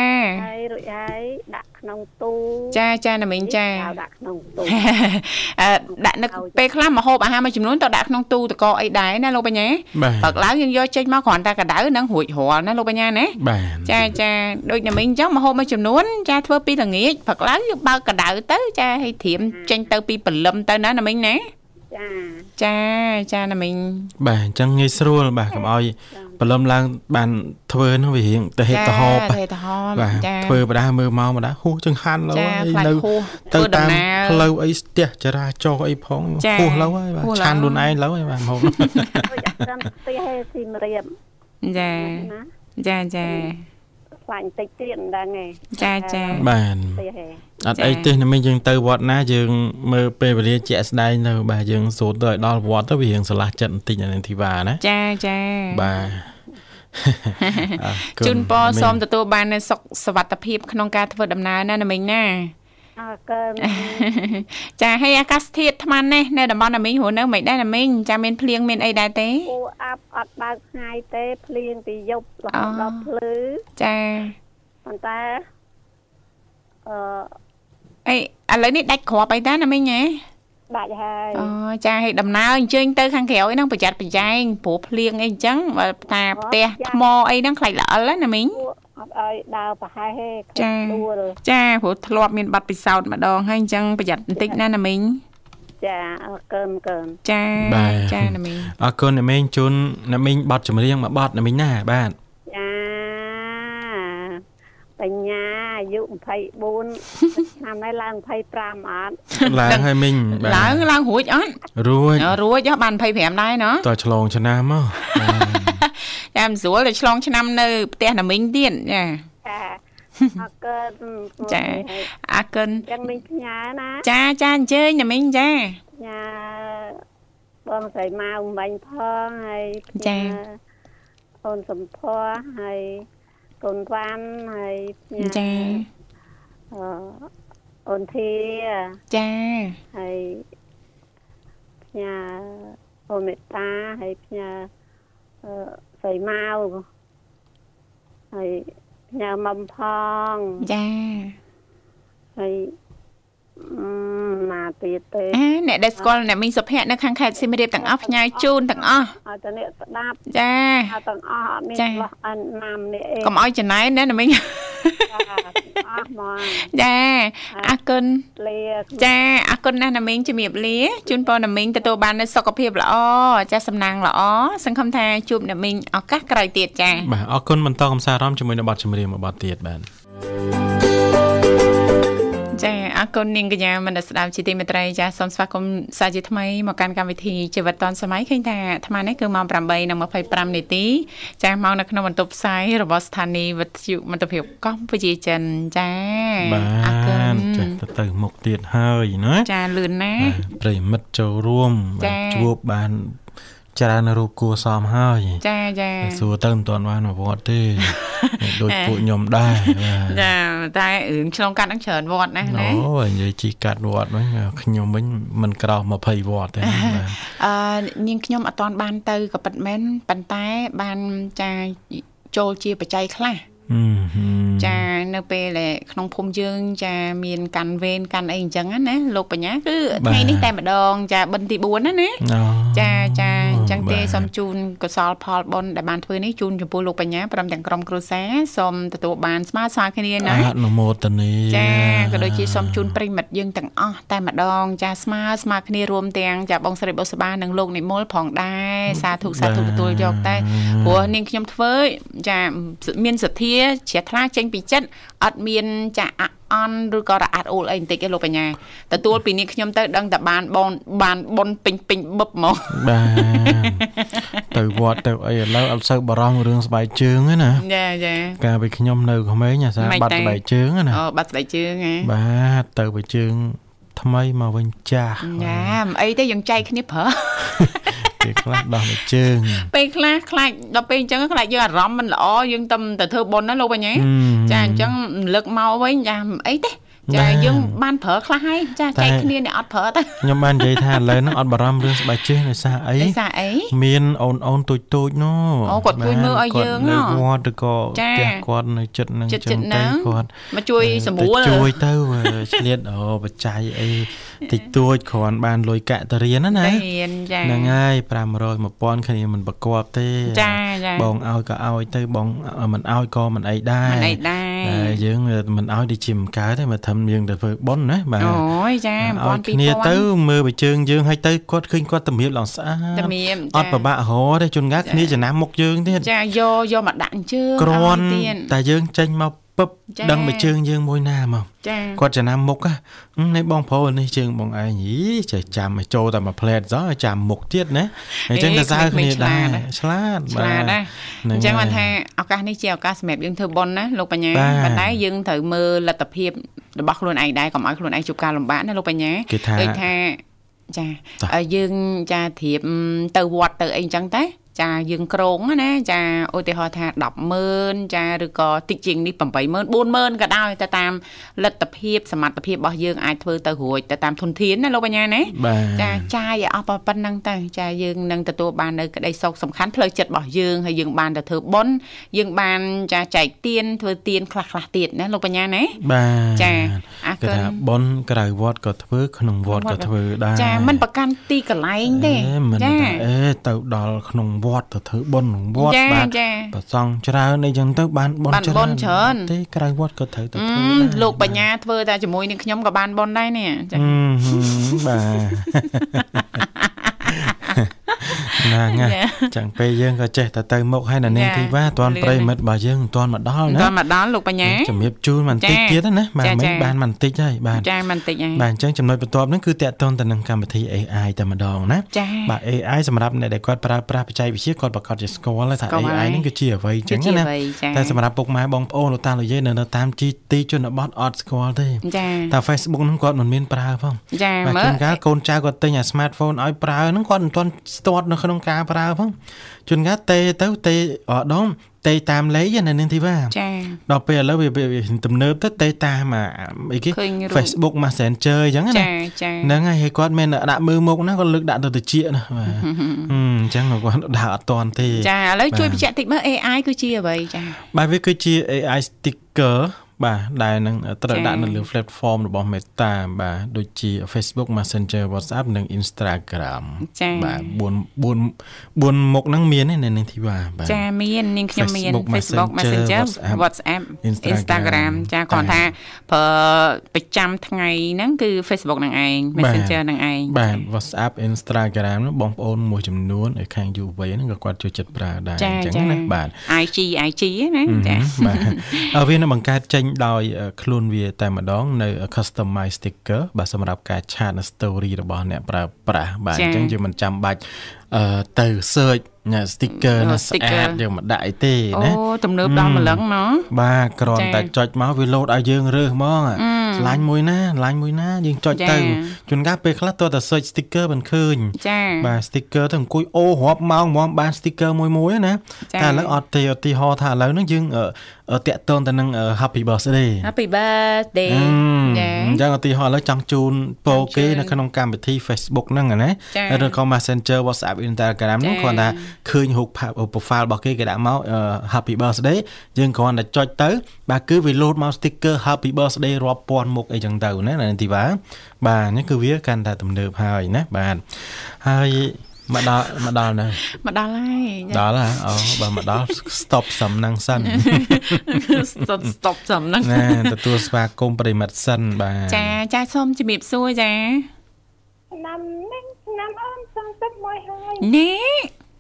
Speaker 4: ហើយរួចហើយដាក់ក្នុងទូ
Speaker 1: ចាចាណាមីងចា
Speaker 4: កៅដាក់ក្នុងទូ
Speaker 1: អឺដាក់នៅពេលខ្លះមហូបអាហារមួយចំនួនទៅដាក់ក្នុងទូទឹកកកអីដែរណាលោកបញ្ញា
Speaker 2: បាទ
Speaker 1: បើកឡើងយើងយកចេញមកគ្រាន់តែកដៅនឹងរួចរាល់ណាលោកបញ្ញាណា
Speaker 2: បាទ
Speaker 1: ចាចាដូចតែមិញអញ្ចឹងមហូបមួយចំនួនចាធ្វើពីល្ងាចបើកឡើងយើងបើកកដៅទៅចាឲ្យធៀមចេញទៅពីព្រលឹមទៅណាណាមិញណា
Speaker 4: ចា
Speaker 1: ចាចាណាមិញ
Speaker 2: បាទអញ្ចឹងងាយស្រួលបាទកុំឲ្យព្រលឹមឡើងបានធ្វើនោះវារៀងទៅហេតុទៅហោប
Speaker 1: ហេតុទៅហោប
Speaker 2: បាទ
Speaker 1: ចា
Speaker 2: ធ្វើបដាមើលមកម្ដាហួសចង្ហាន់ឡើយ
Speaker 1: ចាខ្លា
Speaker 2: នៅ
Speaker 1: ច់ហួស
Speaker 2: ទៅ
Speaker 1: ធ្វើដំ
Speaker 2: តាម
Speaker 1: ណើរ
Speaker 2: ផ្លូវអីស្ទះចរាចរណ៍អីផង
Speaker 1: ចា
Speaker 2: ហួសឡូវហើយបាទ
Speaker 1: ហួសឡូវ
Speaker 2: ឆានខ្លួនឯងឡូវហើយបាទមក
Speaker 4: រួចអត់ត្រឹមផ្ទះទេស៊ីមរៀប
Speaker 1: ចា
Speaker 4: ណា
Speaker 1: ចាចា
Speaker 4: ខ្លាញ់បន្តិចទៀតមិនដឹងទេ
Speaker 1: ចាចា
Speaker 2: បាទ
Speaker 4: ផ្ទះទេ
Speaker 2: អត់អីទេណាមិញយើងទៅវត្តណាយើងមើលពេលវេលាជាក់ស្ដែងនៅបាទយើងសូត្រទៅឲ្យដល់វត្តទៅវារៀងស្រឡះចិត្តបន្តិចណានាងធីវ៉ាណា
Speaker 1: ចាចាទ
Speaker 2: បាទ អរគុណ
Speaker 1: ជូនពរ
Speaker 2: មីង
Speaker 1: សូមទទួលបាននូវសុខសវត្ថិភាពក្នុងការធ្វើដំណើរណាណាមីង ណា
Speaker 4: អើកើម
Speaker 1: ចាហើយអាកាសធាតុថ្មនេះនៅតំបន់ណាមីងហួរនៅមិនដែរណាមីងចាមានភ្លៀងមានអីដែរទេ
Speaker 4: អូអាប់អត់បើកថ្ងៃទេភ្លៀងពីយប់រហូតដល់
Speaker 1: អ่า
Speaker 4: ភ្លឺ
Speaker 1: ចា
Speaker 4: ប៉ុន្តែអឺ
Speaker 1: អីឥឡូវនេះដាច់គ្រាប់អីតាណាមីងហ៎
Speaker 4: បាច់ហើយ
Speaker 1: អូចាហើយដំណើរអញ្ជើញទៅខាងក្រោយហ្នឹងប្រយ័ត្នប្រយែងព្រោះភ្លៀងអីអញ្ចឹងបើតាផ្ទះថ្មអីហ្នឹងខ្លាចល្អិលណាមីង
Speaker 4: ពួកអត់ឲ្យដើរប្រហែលទេ
Speaker 1: ចា
Speaker 4: ខ្លាចដួល
Speaker 1: ចាព្រោះធ្លាប់មានបាត់ពិសោធន៍ម្ដងហើយអញ្ចឹងប្រយ័ត្នបន្តិចណាណាមីង
Speaker 4: ចាអរកើមកើម
Speaker 1: ចា
Speaker 2: បាទ
Speaker 1: ចាណាមីង
Speaker 2: អរគុណអ្នកមីងជូនអ្នកមីងបတ်ចម្រៀងមួយបတ်អ្នកមីងណាបាទ
Speaker 4: ចាបញ្ញាអាយុ24 ឆ្នាំនេះឡើង25អត់
Speaker 2: ឡើងហើយមីងបាទ
Speaker 1: ឡើងឡើងរួចអត់
Speaker 2: រួច
Speaker 1: រួចហ៎បាន25ដែរណ៎
Speaker 2: តើឆ្លងឆ្នាំមកបាទ
Speaker 1: តាមស្រួលតែឆ្លងឆ្នាំនៅផ្ទះណាមីងទៀតចា
Speaker 4: ចាអរកើម
Speaker 1: ចាអាកិន
Speaker 4: យ៉ាងមិញផ្ញើណា
Speaker 1: ចាចាអញ្ជើញណាមីងចា
Speaker 4: ផ្ញើបងស្រីម៉ៅអំបញ្ញផងហើយផ្ញើ
Speaker 1: ចា
Speaker 4: អូនសំភ័រហើយកូនវ៉ាន់ហើយផ្ញើ
Speaker 1: ចា
Speaker 4: អឺអូនធី
Speaker 1: ចា
Speaker 4: ហើយផ្ញើអូនមេត្តាហើយផ្ញើអឺស្រីម៉ៅហើយផ្ញើមុំផង
Speaker 1: ចា
Speaker 4: ហើយអឺមកទៀតទេ
Speaker 1: អាអ្នកដែលស្គាល់អ្នកមីងសុភ័ក្រនៅខាងខេត្តសៀមរាបទាំងអស់ផ្ញើជូនទាំងអស់
Speaker 4: អត់តអ្នកស្ដាប់
Speaker 1: ចា
Speaker 4: អត់ទាំងអស់អត់មាន
Speaker 1: ចា
Speaker 4: ឆ្លោះអិនណាមនេះអី
Speaker 1: កុំឲ្យច្នៃណាណាមីង
Speaker 4: ចាទាំងអស់មក
Speaker 1: ចាអាកិន
Speaker 4: លាចា
Speaker 1: ចាអរគុណណាស់ណាមីងជំរាបលាជូនពរណាមីងទទួលបាននូវសុខភាពល្អចាសំណាងល្អសង្ឃឹមថាជួបណាមីងឱកាសក្រោយទៀតចា
Speaker 2: បាទអរគុណបន្តកំសាន្តអារម្មណ៍ជាមួយនឹងបទចម្រៀងមួយបទទៀតបាទ
Speaker 1: ចាអរគុណនាងកញ្ញាមនស្សស្ដាប់ជាទីមេត្រីចាសូមស្វាគមន៍សាជាថ្មីមកកាន់កម្មវិធីជីវិតឌွန်សម័យឃើញថាអាត្មានេះគឺម៉ោង8:25នាទីចាមកនៅក្នុងបន្ទប់ផ្សាយរបស់ស្ថានីយ៍វិទ្យុមិត្តភាពកម្ពុជាចិនចា
Speaker 2: បាទចេះទៅទៅមុខទៀតហើយណា
Speaker 1: ចាលឿនណា
Speaker 2: បាទប្រិយមិត្តចូលរួម
Speaker 1: ចា៎
Speaker 2: បានជួបបានច្រើនរូបគួរសមហើយ
Speaker 1: ចាចា
Speaker 2: តែសួរទៅមិនទាន់បានមកវត្តទេ ដូចពួកខ្ញុំដែរបាទ
Speaker 1: ចាតែរឿងឆ្លងកាត់ហ្នឹងច្រើនវត្តណាស់ណា
Speaker 2: អូយនិយាយជីកាត់វត្តវិញខ្ញុំវិញមិនក្រោស20វត្តទេបាទ
Speaker 1: អឺនាងខ្ញុំអត់តាន់បានទៅក៏ប៉ិតមែនប៉ុន្តែបានចាចូលជាបច្ច័យខ្លះ
Speaker 2: អឺហឹម
Speaker 1: ចានៅពេលដែលក្នុងភូមិយើងចាមានកាន់វេនកាន់អីអញ្ចឹងណាណាលោកបញ្ញាគឺថ្ងៃនេះតែម្ដងចាបិណ្ឌទី4ណាណា
Speaker 2: អូ
Speaker 1: ចាចាអញ្ចឹងទេ
Speaker 2: បាទ
Speaker 1: សូមជូនកុសលផលបុណ្យដែលបានធ្វើនេះជូនចំពោះលោកបញ្ញាព្រមទាំងក្រុមគ្រួសារសូមទទួលបានស្មើស្មើគ្នាណា
Speaker 2: អនុមោទនា
Speaker 1: ចាក៏ដូចជាសូមជូនប្រិយមិត្តយើងទាំងអស់តែម្ដងចាស្មើស្មើគ្នារួមទាំងចាបងស្រីបុស្បានិងលោកនិមលផងដែរសាធុសាធុទទួលយកតែ ព្រោះនាងខ្ញុំធ្វើចាមានសទ្ធាជ្រះថ្លាចេញពីចិត្តអត់មានចាអាក់អន់ឬក៏រអាក់អូលអីបន្តិចទេលោកបញ្ញាទទួលពីនាងខ្ញុំទៅដឹងតែបានបងបានប៉ុនពេញពេញបឹបហ្មង
Speaker 2: បាទ ទៅវត្តទៅអីឥឡូវអត់សូវបារម្ភរឿងស្បែកជើងទេណា
Speaker 1: ចាចា
Speaker 2: កាលពេលខ្ញុំនៅក្មេងអាសាបាត់ស្បែកជើងហ្នឹងណា
Speaker 1: អូបាត់ស្បែកជើងហ៎
Speaker 2: បាទទៅបើជើងថ្មីមកវិញចាស់
Speaker 1: ចាមិនអីទេយើងចែកគ្នាប្រើ
Speaker 2: ពេលខ្លះដោះមកជើង
Speaker 1: ពេលខ្លះខ្លាចដល់ពេលអញ្ចឹងខ្លាចយើងអារម្មណ៍មិនល្អយើងទៅទៅធ្វើបុណ្យណាលោកវិញហ៎
Speaker 2: ហឹម
Speaker 1: ចាអញ្ចឹងរំលឹកមកវិញចាមិនអីទេចា
Speaker 2: បាទ
Speaker 1: យើងបានប្រើខ្លះហើយចាចែកគ្នាអ្នកអត់ប្រើទៅ
Speaker 2: ខ្ញុំបាននិយាយថាឥឡូវហ្នឹងអត់បារម្ភរឿងស្បែកជើងដោយសារអី
Speaker 1: ដោយសារអី
Speaker 2: មានអូនអូនទូចទូចៗនោះ
Speaker 1: អូគាត់ជួយមើលឲ្យយើង
Speaker 2: គាត់នៅ
Speaker 1: ហ៎
Speaker 2: វត្តឬក៏
Speaker 1: ចា
Speaker 2: ផ្ទះគាត់នៅចិត្តនឹង
Speaker 1: ចិត្ត
Speaker 2: ចឹង
Speaker 1: ចិត្តហ្នឹង
Speaker 2: ទៅគាត់
Speaker 1: មកជួយសម្រួល
Speaker 2: ទៅជួយទៅអឺ ឆ្លៀតអូបច្ច័យអីតិចតួចគ្រាន់បានលុយកាក់ទៅរៀនណាណា
Speaker 1: តែរៀនចា
Speaker 2: ហ្នឹងហើយ500 1000គ្នាមិនប្រកបទេ
Speaker 1: ចាចា
Speaker 2: បងឲ្យក៏ឲ្យទៅបងមិនឲ្យក៏មិនអីដែរ
Speaker 1: មិនអីដែ
Speaker 2: តែ
Speaker 1: រ
Speaker 2: យើងមិនឲ្យដូចជាមិនកើតទេមកធ្វើយើងទៅធ្វើប៉ុនណាបាទ
Speaker 1: អូយចា
Speaker 2: ឲ្យ
Speaker 1: 1200
Speaker 2: គ្នាទៅមើលបើជើងយើងឲ្យទៅគាត់ឃើញគាត់តម្រៀបឡើងស្អាត
Speaker 1: តែមាន
Speaker 2: អត់ប្របាក់រហទេជួនកាលគ្នាចំណាំមុខយើងទៀត
Speaker 1: ចាយកយកមកដាក់អញ្ជើញ
Speaker 2: គ្រាន់
Speaker 1: ឲ្យទៀត
Speaker 2: តែយើងចេញមកពឹប
Speaker 1: ចា
Speaker 2: ដឹងបើជើងយើងមួយណាមក
Speaker 1: ចា
Speaker 2: គាត់ចំណាំមុខហ៎នៃបងប្រូនេះជើងបងឯងយីចេះចាំឲ្យចូលតែមួយផ្លែតសោះឲ្យចាំមុខទៀតណា អញ្ចឹងទៅសើគ្នាដែរឆ្លាត
Speaker 1: ឆ្លាតណាស់អញ្ចឹង
Speaker 2: ហើ
Speaker 1: បាន
Speaker 2: យ
Speaker 1: ថាឱកាសនេះជាឱកាសសម្រាប់យើងធ្វើបុណ្យណាលោកបញ្ញា
Speaker 2: បាទ
Speaker 1: ប៉ុន្តែយើងត្រូវមើលលទ្ធភាពរបស់ខ្លួនឯងដែរកុំឲ្យខ្លួនឯងជួបការលំបាកណាលោកបញ្ញា
Speaker 2: គេថា
Speaker 1: ដូចថាចា
Speaker 2: ចា
Speaker 1: ឲ្យយើងចាធៀបទៅវត្តទៅអីអញ្ចឹងតែចាយើងក្រងណាចាឧទាហរណ៍ថា100000ចាឬក៏តិចជាងនេះ80000 40000ក៏ដោយទៅតាមលទ្ធភាពសមត្ថភាពរបស់យើងអាចធ្វើទៅរួចទៅតាមធនធានណាលោកបញ្ញាណា
Speaker 2: បា
Speaker 1: ចា
Speaker 2: ទ
Speaker 1: ចាយឲ្យអស់ប៉ប៉ុណ្ណឹងទៅចាយើងនឹងទទួលបាននៅក្តីសោកសំខាន់ផ្លូវចិត្តរបស់យើងហើយយើងបានទៅធ្វើបុណ្យយើងបានចាចែកទានធ្វើទានខ្លះខ្លះៗទៀតណាលោកបញ្ញាណា
Speaker 2: បាទ
Speaker 1: ចាអា
Speaker 2: គេ
Speaker 1: កិន
Speaker 2: ថាបនក្រៅវត្តក៏ធ្វើក្នុងវត្តក៏ធ្វើដែរ
Speaker 1: ចាមិនប្រកាន់ទីកន្លែងទេ
Speaker 2: អេមិន
Speaker 1: ចា
Speaker 2: ថាអេទៅដល់ក្នុងវត្តទៅធ្វើបនក្នុងវត្ត
Speaker 1: ចា
Speaker 2: បាទ
Speaker 1: ចា
Speaker 2: ប្រសងច្រើនអីចឹងទៅបានបន
Speaker 1: បាន
Speaker 2: ច្រើន
Speaker 1: បុណ្យច្រើន
Speaker 2: ទេក្រៅវត្តក៏ត្រូវទៅធ្វើ
Speaker 1: អឺម
Speaker 2: ដែរ
Speaker 1: លោកបញ្ញាធ្វើតែជាមួយនឹងខ្ញុំក៏បានប៉ុនដែរនេះចា
Speaker 2: អឺហឹមបាទ ណាងា
Speaker 1: ចា
Speaker 2: ចឹងពេលយើងក៏ចេះតែទៅមុខហើយណានាង
Speaker 1: ចា
Speaker 2: ធីវ៉ាអត់ទាន់
Speaker 1: លឿន
Speaker 2: ប្រិយមិត្តរបស់យើងមិនទាន់មកដល់
Speaker 1: មិន
Speaker 2: ណា
Speaker 1: ទាន់មកដល់លោកបញ្ញា
Speaker 2: ជំរាបជូនបន្តិច
Speaker 1: ចា
Speaker 2: ទៀតណាបាទ
Speaker 1: ចា
Speaker 2: មិ
Speaker 1: ចា
Speaker 2: ញបានបន្តិចហើយបាទ
Speaker 1: ចាមិនតិចហើយ
Speaker 2: បាទអញ្ចឹងចំណុចបន្ទាប់ហ្នឹងគឺតកតងទៅនឹងកម្មវិធី AI តែម្ដងណា
Speaker 1: ចា
Speaker 2: បាទ AI សម្រាប់អ្នកដែលគាត់ប្រើប្រាស់បច្ចេកវិទ្យាគាត់ប្រកាសជាស្គាល់ហើយថា
Speaker 1: ស្គាល់
Speaker 2: AI
Speaker 1: ហើយ
Speaker 2: ហ្នឹងគឺជាអ្វីអញ្ចឹង
Speaker 1: ជា
Speaker 2: ណា
Speaker 1: អ្វីចា
Speaker 2: តែសម្រាប់ពុកម៉ែបងប្អូនលោកតាលោកយាយនៅនៅតាមទីទីជនបទអត់ស្គាល់ទេ
Speaker 1: ចា
Speaker 2: តែ Facebook ហ្នឹងគាត់មិនមានប្រើផង
Speaker 1: ចា
Speaker 2: បាទ
Speaker 1: មើ
Speaker 2: ជួ
Speaker 1: ល
Speaker 2: នកាលកូនចៅគាត់ទិញអា smartphone ឲ្យប្រើហ្នឹងគាត់មិនទាន់ស្ទាត់នៅក្នុងការប្រើផងជួនកាលទេទៅទេអត់ដងទេតាមលេខឯណានាងធីវ៉ា
Speaker 1: ចា
Speaker 2: ដល់ពេលឥឡូវវាវាវាទំនើបទៅទេតាមអាអីគេ
Speaker 1: ឃើញរូប
Speaker 2: Facebook Messenger អញ្ចឹងណា
Speaker 1: ចាចា
Speaker 2: ហ្នឹងហើយហើយគាត់មានដាក់មើលមុខណាគាត់លើកដាក់ទៅត្រចៀកណា បាទ ហឹមអញ្ចឹងគាត់ដាក់អត់ទាន់ទេ
Speaker 1: ចាឥឡូវជួយប
Speaker 2: បាទ
Speaker 1: ញ្ជាក់តិចមើល AI គឺជាអ្វីចា
Speaker 2: បាទវាគឺជា AI sticker បាទដែលនឹងត្រូវ
Speaker 1: ចា៎
Speaker 2: ដាក់នៅលើ platform របស់ Meta បាទដូចជា Facebook Messenger WhatsApp និង Instagram
Speaker 1: ចា៎
Speaker 2: បាទ4 4 4មុខហ្នឹងមានទេនៅនឹងធីវ៉ាបាទ
Speaker 1: ចាមាននាងខ្ញុំមាន
Speaker 2: Facebook
Speaker 1: Facebook Messenger
Speaker 2: Messenger,
Speaker 1: WhatsApp
Speaker 2: Instagram
Speaker 1: Instagram ចាគ្រាន់
Speaker 2: តែ
Speaker 1: ថាប្រើប្រចាំថ្ងៃហ្នឹងគឺ Facebook ហ្នឹងឯង Messenger ហ្នឹងឯង
Speaker 2: បាទ WhatsApp Instagram ហ្នឹងបងប្អូនមួយចំនួនឯខាងយុវវ័យហ្នឹងក៏គាត់ចូលចិត្តប្រើដែរអ
Speaker 1: ចា
Speaker 2: ញ្ចឹង
Speaker 1: ចា
Speaker 2: ណាបាទ
Speaker 1: IG IG ណាចា
Speaker 2: បាទ អឺវានឹងបង្កើតចេញដោយអឺខ្លួនវាតែម្ដងនៅ customize sticker បាទសម្រាប់ការឆាតនៅ story របស់អ្នកប្រើប្រាស់បាទអញ្ចឹងយើងមិនចាំបាច់អឺទៅ search ណា sticker ណាស្អាតយើងមកដាក់អីទេណា
Speaker 1: អូទំនើបដល់ម្លឹងណោះ
Speaker 2: បាទគ្រាន់
Speaker 1: ចា៎
Speaker 2: តែចុចមកវាលោតឲ្យយើងរើសហ្មងអាឆ្លាញ់មួយណាឆ្លាញ់មួយណាយើងចុច
Speaker 1: ចា៎
Speaker 2: ទៅជួនកាលពេលខ្លះតើតែ search sticker មិនឃើញ
Speaker 1: ចា
Speaker 2: បាទ sticker ទៅអង្គុយអូរាប់ម៉ោងហ្មងបាន sticker មួយមួយហ្នឹងណា
Speaker 1: ចា៎
Speaker 2: តែឥឡូវអត់ទេឧទាហរណ៍ថាឥឡូវហ្នឹងយើងតាក់ទងទៅនឹងអឺ Happy Birthday
Speaker 1: Happy birthday
Speaker 2: អ
Speaker 1: ចា
Speaker 2: ឺអញ្ចឹងឧទាហរណ៍ឥឡូវចង់ជូនពរគេនៅក្នុងកម្មវិធី Facebook ហ្នឹងអាណា
Speaker 1: ចា៎
Speaker 2: ឬក៏ Messenger WhatsApp Instagram ហ្នឹង
Speaker 1: ចា៎
Speaker 2: គ្រាន់តែឃើញរូបភាព profile របស់គេគេដាក់មកអឺ Happy Birthday យើងគ្រាន់តែចុចទៅ បាទគឺវាលោតមក sticker Happy Birthday រាប់ពាន់មុខអីចឹងទៅណានៅទីវ៉ាបាទនេះគឺវាកាន់តែទំនើបហើយណាបាទហើយមកដល់មកដល់នៅ
Speaker 1: មកដល់ហើយចា
Speaker 2: ដល់ហ៎អូបើមកដល់ stop សំណឹងសិន
Speaker 1: stop stop សំហ្នឹង
Speaker 2: ណាទទួលស្វាគមន៍ប្រិមិត្តសិនបាទ
Speaker 1: ចាចាសូមជំរាបសួរចា
Speaker 4: ឆ្នាំនេះឆ្នាំអូន31ហើយ
Speaker 1: នេះ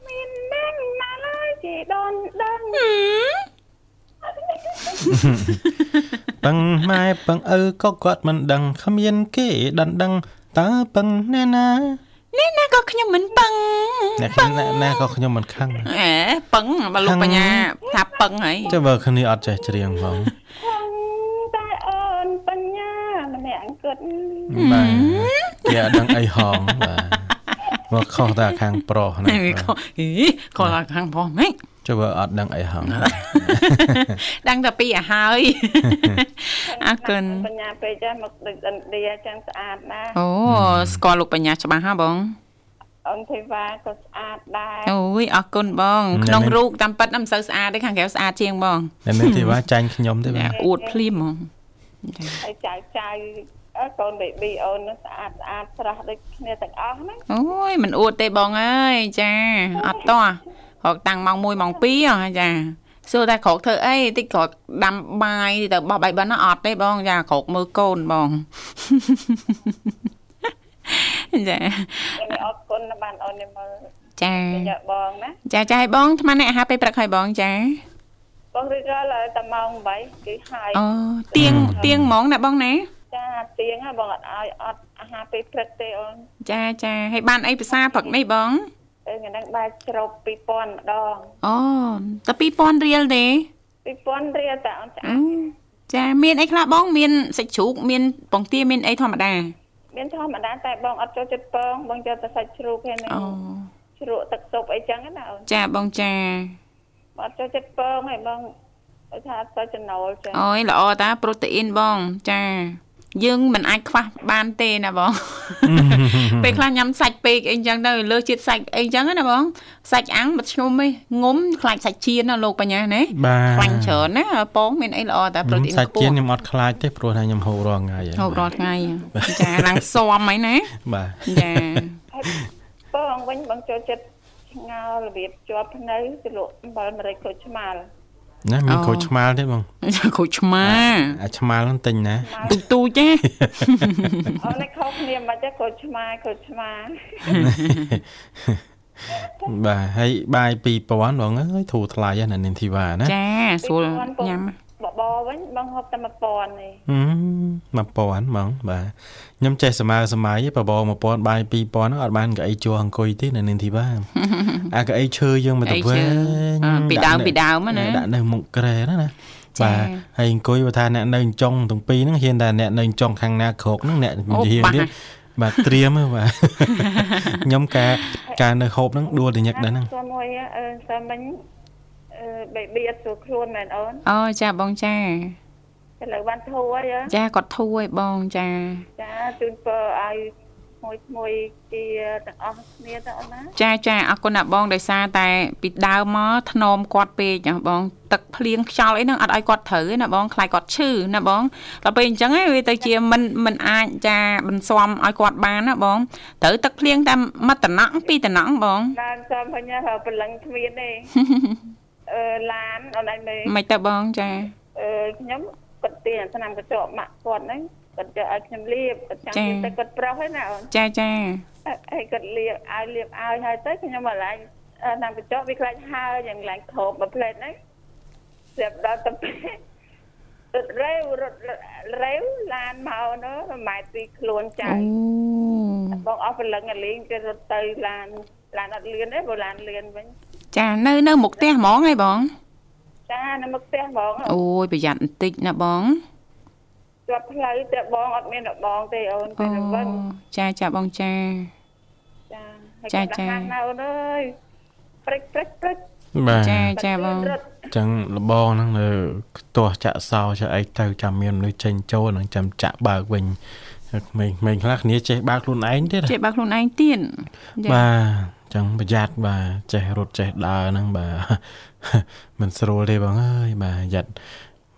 Speaker 4: មានណាស់ណាស់ហើយគេដូនដឹង
Speaker 2: ពឹងម៉ែពឹងឪក៏គាត់មិនដឹងគ្មានគេដណ្ដឹងតើពឹងណែណា
Speaker 1: នេះណាក៏ ខ្ញុំមិនពឹង
Speaker 2: អ្នកខ្ញុំណាណាក៏ខ្ញុំមិនខឹងដែរ
Speaker 1: អេពឹងបើលោក
Speaker 2: ខឹង
Speaker 1: បញ្ញាថាពឹងហើយ
Speaker 2: ចាំបើគ្នាអត់ចេះច្រៀងផង
Speaker 4: តែអូនបញ្ញាម្នាក់គិត
Speaker 2: បាទគេអត់ដឹងអីហងបាទមកខុសតែខាងប្រុសណា
Speaker 1: អីខអីខលខាងផងហ្មេច
Speaker 2: ចាំបើអត់ដឹងអីហង
Speaker 1: ដឹងតែពីអាហើយអរគុណ
Speaker 4: បញ្ញាពេកចាស់មកដូចឥណ្ឌាចឹងស្អាតណាស់
Speaker 1: អូស្គាល់លោកបញ្ញាច្បាស់ហ่าបង
Speaker 4: អូនធីវ៉ាក៏ស្អាតដែរ
Speaker 1: អូយអរគុណបងក្នុងរូបតាមពិតណាមិនសូវស្អាតទេខាងក្រៅស្អាតជាងបង
Speaker 2: អ្នកនេះទេវ៉ាចាញ់ខ្ញុំទេបាទ
Speaker 1: អ្នកអួតភ្លាមហ្មង
Speaker 4: ហើយចៅចៅអើកូនបេប៊ីអូននោះស្អាតស្អាតស្រស់ដូចគ្នាទាំងអស់ហ្នឹង
Speaker 1: អូយមិនអួតទេបងអើយចាអត់តោះរកតាំងម៉ោង1ម៉ោង2ហ៎ចាសួរតែក្រោកធ្វើអីតិចក្រោកដាំបាយតិចទៅបោះបាយបិណ្ឌណាអត់ទេបងចាក្រោកមើលកូនបង ចា
Speaker 4: អូនអរគុណណាស់បានអូននេះមើល
Speaker 1: ចា
Speaker 4: យកបងណា
Speaker 1: ចាចាឲ្យបងអាត្មាអ្នកអាហារពេលព្រឹកឲ្យបងចា
Speaker 4: បងរីករាល់តែម៉ោង8គេហើយ
Speaker 1: អូទៀងទៀងហ្មងណាបងណា
Speaker 4: ចាទៀងហ្នឹងបងអត់ឲ្យអត់អាហារពេលព្រឹកទេអូន
Speaker 1: ចាចាឲ្យបានអីភាសាព្រឹកនេះបង
Speaker 4: ពេលថ្ងៃហ្នឹងបែរជ្រប់2000ម្ដង
Speaker 1: អូតែ2000រៀលទេ
Speaker 4: 2000រៀលតែអូនស្អា
Speaker 1: អូ
Speaker 4: ត
Speaker 1: ចាមានអីខ្លះបងមានសាច់ជ្រូកមានពងទាមានអីធម្មតា
Speaker 4: មានធម្មតាតែបងអត់ចូលចិត្តពងបងយកតែសាច់ជ្រូកហ្នឹង
Speaker 1: អូ
Speaker 4: ជ្រក់ទឹកស៊ុបអីចឹងណាអូន
Speaker 1: ចាបងចា
Speaker 4: បងអត់ចូលចិត្តពងហើយបងឲ្យថាទៅចំណូលចឹង
Speaker 1: អូយល្អតាប្រូតេអ៊ីនបងចា យើងមិនអាចខ្វះបានទេណាបង ពេលខ្លះញ៉ាំសាច់ពេកអីចឹងទៅលើសជាតិសាច់អីចឹងណាបងសាច់អាំងមិនឈ្ងុំទេងុំខ្លាចសាច់ចៀនណាលោកបញ្ញាណា
Speaker 2: បាទ
Speaker 1: ខ្លាញ់ច្រើនណាពងមានអីល្អតាប្រូតេអ៊ីន
Speaker 2: សាច់
Speaker 1: ខ្ព
Speaker 2: ជៀន
Speaker 1: ស់
Speaker 2: ខ្ញុំអត់ខ្លាចទេព្រោះថាខ្ញុំហូបរាល់ថ្ងៃហើយ
Speaker 1: ហូបរាល់ថ្ងៃចាឡើងស៊ាំហើយណា
Speaker 2: បាទ
Speaker 1: ចា
Speaker 4: ពងវិញបងចូលចិត្តឆ្ងោររបៀបជាប់ភ្នៅជ្រក់អំបិលម្រេចក្រូចឆ្មារ
Speaker 2: ណាមាន
Speaker 1: អូ
Speaker 2: ក្រូចឆ្មាលទេបង
Speaker 1: គ្រូចឆ្មា
Speaker 2: អាឆ្មាលហ្នឹងទិញណា
Speaker 1: ទូទូច ណា
Speaker 4: អូនឯងខុសគ្នាមិនទេគាត់ឆ្មាគាត់ឆ្មា
Speaker 2: បាទហើយបាយ2000បងអើយធូរថ្លៃណាស់នាងធីវ៉ាណា
Speaker 1: ចាស្រួលញ៉ាំ
Speaker 4: បបរវិញបងហូបតែ1000ទេ
Speaker 2: ហឹម1000ហ្មងបាទខ្ញុំចេះសម័យសម័យឯងបបរ1000បាយ2000ហ្នឹងអត់បានកៅអីជួរអង្គុយទេនៅនាងធី វ៉ា អាកៅអីឈើយើងមកទៅវិញ
Speaker 1: អ่าពីដើម
Speaker 2: ដាក់នៅ
Speaker 1: ពីដើមហ្នឹងណា
Speaker 2: ដាក់នៅមុខក្រែហ្នឹងណា
Speaker 1: ចា
Speaker 2: បាទហើយអង្គុយបើថាអ្នកនៅចុងទាំងពីរហ្នឹងហ៊ានតែអ្នកនៅចុងខាងណាក្រោកហ្នឹងអ្នកនិយាយទៀតបាទត្រៀមហ៎ បាទ ខ្ញុំការការនៅហូបហ្នឹងដួលតែញឹកដែរហ្នឹង
Speaker 4: សួរមួយអឺសួរមិញអឺបេប៊ីអត់ស្រួលខ្លួនមែនអូន
Speaker 1: អូចាបងចា
Speaker 4: ឥឡូវបានធូរហើយហ៎
Speaker 1: ចាគាត់ធូរឲ្យបងចា
Speaker 4: ចាជូនពរឲ្យមួយមួយជាទាំងអស់គ្នាទៅអូនណា
Speaker 1: ចាចាអរគុណណាស់បងដោយសារតែពីដើមមកធ្នមគាត់ពេកណាបង ទឹកភ្លៀងខ្យល់អីហ្នឹងអត់ឲ្យគាត់ត្រូវទេណាបងខ្លាចគាត់ឈឺណាបងដល់ពេលអញ្ចឹងឯងវាទៅជាមិនមិនអាចចាបន្សំឲ្យគាត់បានណាបងត្រូវទឹកភ្លៀងតែមួយតំណក់ពីរតំណក់បង
Speaker 4: ឡើងសួរមិញហៅប្រលឹងគ្មានទេ អឺឡានអូនឯងមើល
Speaker 1: មិនទៅបងចា
Speaker 4: អឺខ្ញុំគាត់ទាញអាឆ្នាំកញ្ចក់ម៉ាក់គាត់ហ្នឹងគាត់យកឲ្យខ្ញុំលាបគាត់ចង់លាបតែគាត់ប្រុសហ្នឹងណាអូន
Speaker 1: ចាចា
Speaker 4: ហើយគាត់លាបឲ្យលាបឲ្យហើយទៅខ្ញុំអាឡាញតាមកញ្ចក់វាខ្លាចហើរយ៉ាងខ្លាំងខោបមួយផ្លែតហ្នឹងស្រាប់ដល់ទៅរេវរត់រេវឡានមកនោះប្រហែលពីខ្លួនចៅ
Speaker 1: អូ
Speaker 4: បងអស់ព្រលឹងអាលេងគេរត់ទៅឡានឡានអត់លឿនទេបើឡានលឿនវិញ
Speaker 1: ចានៅនៅមុខផ្ទះហ្មងឯងបង
Speaker 4: ចានៅមុខផ្ទះហ្មង
Speaker 1: អូយប្រយ័ត្នបន្តិចណាបង
Speaker 4: ជាប់ផ្លូវតែបងអត់មានរបងទេអូន
Speaker 1: អូ
Speaker 4: តែរវឹង
Speaker 1: ចាចាបងចា
Speaker 4: ចាហើយគាត់ហាងនៅអូនអើយព្រិចព្រិចព្រិច
Speaker 2: បាទ
Speaker 1: ចា
Speaker 2: អ
Speaker 1: ចាបង
Speaker 4: រត់
Speaker 2: ញ្ចឹងលបងហ្នឹងនៅខ្ទាស់ចាក់សោចាក់អីទៅចាំមានមនុស្សចេញចូលហ្នឹងចាំចាក់បើកវិញក្មេងក្មេងខ្លះគ្នាចេះបើកខ្លួនឯងទៀតណា
Speaker 1: ចេះបើខ្លួនឯងទៀត
Speaker 2: បាទអញ្ចឹងប្រយ័ត្នបាទចេះរត់ចេះដើរហ្នឹង បាទ មិនស្រួលទេបងអើយបាទប្រយ័ត្ន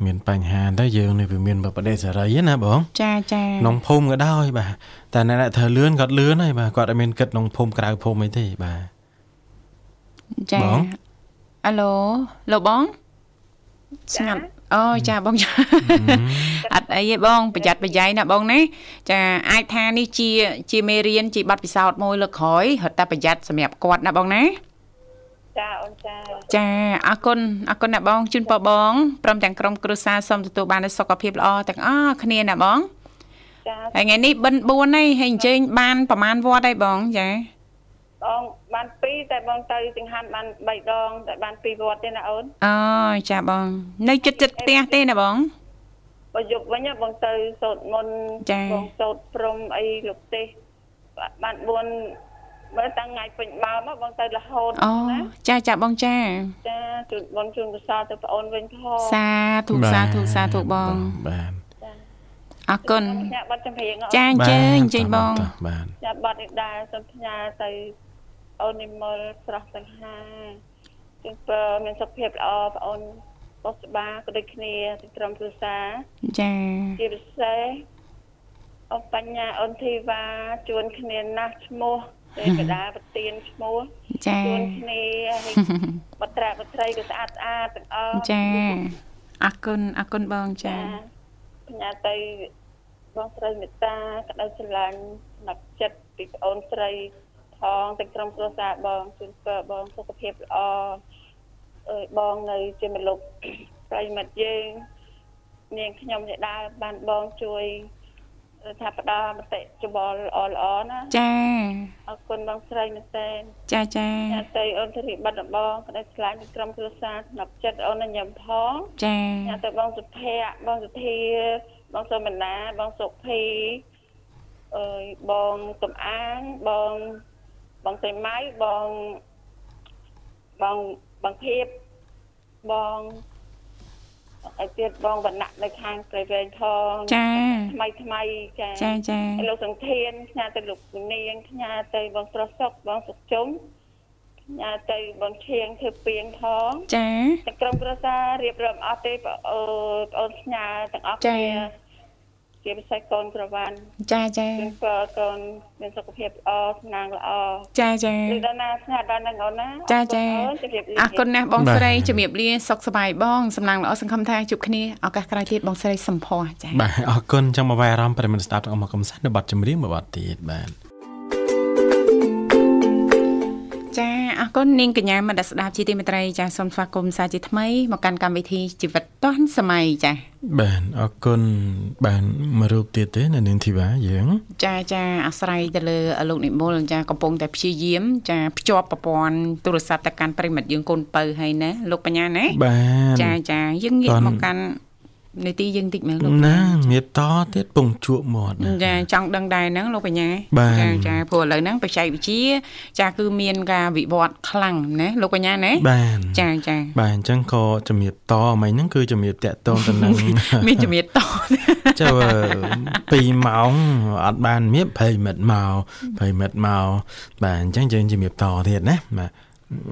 Speaker 2: មានបញ្ហាទៅយើងនេះវាមានបបដិសេរីហ្នឹងណាបង
Speaker 1: ចាចា
Speaker 2: ក្នុងភូមិក៏ដោយបាទតែអ្នកដែលធ្វើលឿនគាត់លឿនហើយបាទគាត់អត់មានគិតក្នុងភូមិក្រៅភូមិអីទេបាទ
Speaker 1: ចា
Speaker 2: បង
Speaker 1: អាឡូលោកបងស្ងាត់អូយចាបងចា អត់អីទេបងប្រយ័ត្នប្រយែងណាបងណាចាអាចថានេះជា ជាមេរៀនជាប័ណ្ណពិសោធន៍មួយលើកក្រោយរត់តែប្រយ័ត្នសម្រាប់គាត់ណាបងណា
Speaker 4: ចាអូនចា
Speaker 1: ចាអរគុណអរគុណអ្នកបងជូនពរបងព្រមទាំងក្រុមគ្រួសារសូមទទួលបាននូវសុខភាពល្អទាំងអស់គ្នាណាបង
Speaker 4: ចា
Speaker 1: ហើយថ្ងៃនេះបិណ្ឌ4ហើយហើយអញ្ជើញបានប្រមាណវត្តហើយបងចា
Speaker 4: អងបាន2តែបងទៅចង្ហាន់បាន3ដងតែបាន2វត្តទេណាអូន
Speaker 1: អូចាបង នៅចិត្តចិត្តផ្ទះទេណាបង
Speaker 4: បើយប់វិញណាបងទៅសូត្រមន្ត
Speaker 1: ចា
Speaker 4: បងសូត្រព្រំអីលោកទេសបាន4មើលតាំងថ្ងៃពេញបើមកបងទៅរហូត
Speaker 1: អូ
Speaker 4: ណា
Speaker 1: ចាចាបងចា
Speaker 4: ចាជូនបងជូនកសលទៅប្អូនវិញផង
Speaker 1: សាធុសាធុសាធុបង
Speaker 2: បាទ
Speaker 1: អរគុណ
Speaker 4: ញ៉ាំបាត់ចម្រៀងអូន
Speaker 1: ចាអញ្ជើញអញ្ជើញបង
Speaker 2: បាទ
Speaker 4: ចាប់បាត់នេះដែរសូមផ្ញើទៅអូននិមលស្រស់សង្ហាជូនពរមានសុខភាពល្អបងអូនបុស្បាក៏ដូចគ្នាទាំងក្រុមគ្រួសារ
Speaker 1: ចា
Speaker 4: ជាពិសេសអបញ្ញាអូនធីវ៉ាជួនគ្នាណាស់ឈ្មោះទេវតាប្រទានឈ្មោះ
Speaker 1: ចា
Speaker 4: ជួនគ្នាហើយ បត្រាបត្រីក៏ស្អាតស្អាតទាំងអស់
Speaker 1: ចាអរគុណអរគុណបងចា
Speaker 4: ផ្ញើទៅបងស្រីមេត្តាក្តីស្រឡាញ់ស្និទ្ធចិត្តពីប្អូនស្រីផងទាំងក្រុមគ្រួសារបងជូនពរបងសុខភាពល្អអើយបងនៅជាមលោក ប្រិយមិត្តយើងនាងខ្ញុំជាដើមបានបងជួយថាផ្ដល់មតិច្បល់ល្អល្អៗណា
Speaker 1: ចា
Speaker 4: អរគុណបងស្រីមែនទែន
Speaker 1: ចាចា
Speaker 4: អតីតអូនធារីបាត់ដំបងក្តីឆ្លាញ់ពីក្រុមគ្រួសារស្នាប់ចិត្តអូនញញឹមផង
Speaker 1: ចា
Speaker 4: ញ៉ាំទៅបងសុភ័ក្របងសុធាបងសុមនាបងសុភីអើយបងសំអាងបងបងសីម៉ៅបងបងបងភៀបបងអីទៀតបងវណ្ណៈនៅខាងព្រៃវែងផង
Speaker 1: ចា
Speaker 4: ថ្មីថ្មីចា
Speaker 1: ចាចា
Speaker 4: ហើយលោកសង្ឃានផ្ញើទៅលោកនាងផ្ញើទៅបងស្រស់សុកបងសុកជុំផ្ញើទៅបងឈៀងធ្វើពីងផង
Speaker 1: ចា
Speaker 4: ទាំងក្រុមគ្រួសាររៀបរាប់អស់ទេបងអឺបងអូនផ្ញើទាំងអស់គ្នាជាពិសេសកូនប្រវ័ន
Speaker 1: ចាចា
Speaker 4: ជូនពរកូនមានសុខភាពល្អស្នាងល្អ
Speaker 1: ចាចា
Speaker 4: លោកដល់ណាផ្ញើដល់នឹងអូនណា
Speaker 1: ចាចា
Speaker 4: អរគុណអូនជម្រាបលា
Speaker 1: អរគុណណាស់បងស្រីជំរាបលាសុខសប្បាយបងសំឡាងល្អសង្ឃឹមថាជួបគ្នាឱកាសក្រោយទៀតបងស្រីសំភ័សចា
Speaker 2: បាទអរគុណចង់មកវ៉ែអារម្មណ៍ប្រិយមិត្តស្ដាប់ទាំងអស់មកកំសាន្តនៅបទចម្រៀងមួយបទទៀតបាទ
Speaker 1: ចាអរគុណនាងកញ្ញាមនស្ដាប់ជាទីមេត្រីចាសូមស្វាគមន៍សាជាថ្មីមកកាន់កម្មវិធីជីវិតឌွန်សម័យចា
Speaker 2: បាទអរគុណបាទមួយរូបទៀតទេនៅនាងធីវ៉ាយើង
Speaker 1: ចាចាអាស្រ័យទៅលើលោកនិមលចាកំពុងតែព្យាយាមចាភ្ជាប់ប្រព័ន្ធទូរស័ព្ទទៅកាន់ប្រិមិត្តយើងកូនបើហើយណាលោកបញ្ញាណា
Speaker 2: បាទ
Speaker 1: ចាចាយើងងាក
Speaker 2: តន់
Speaker 1: មកកាន់នីតិយើងតិចមើលលោក
Speaker 2: ណាមៀតតទៀតពងជក់មាត់ណា
Speaker 1: ចាចង់ដឹងដែរហ្នឹងលោកបញ្ញា
Speaker 2: បាទ
Speaker 1: ចាចាព្រោះឥឡូវហ្នឹងបច្ចេកវិទ្យាចាគឺមានការវិវត្តខ្លាំងណាលោកបញ្ញាណា
Speaker 2: បាទ
Speaker 1: ចាចា
Speaker 2: បាទអញ្ចឹងក៏ជំរាបតមិញហ្នឹងគឺជំរាបតាក់ទងទៅនឹង
Speaker 1: មានជំនាញតត
Speaker 2: ចុះ2ម៉ោងអត់បានមៀបប្រិមិត្តមកប្រិមិត្តមកបាទអញ្ចឹងយើងជំរាបតទៀតណាបាទ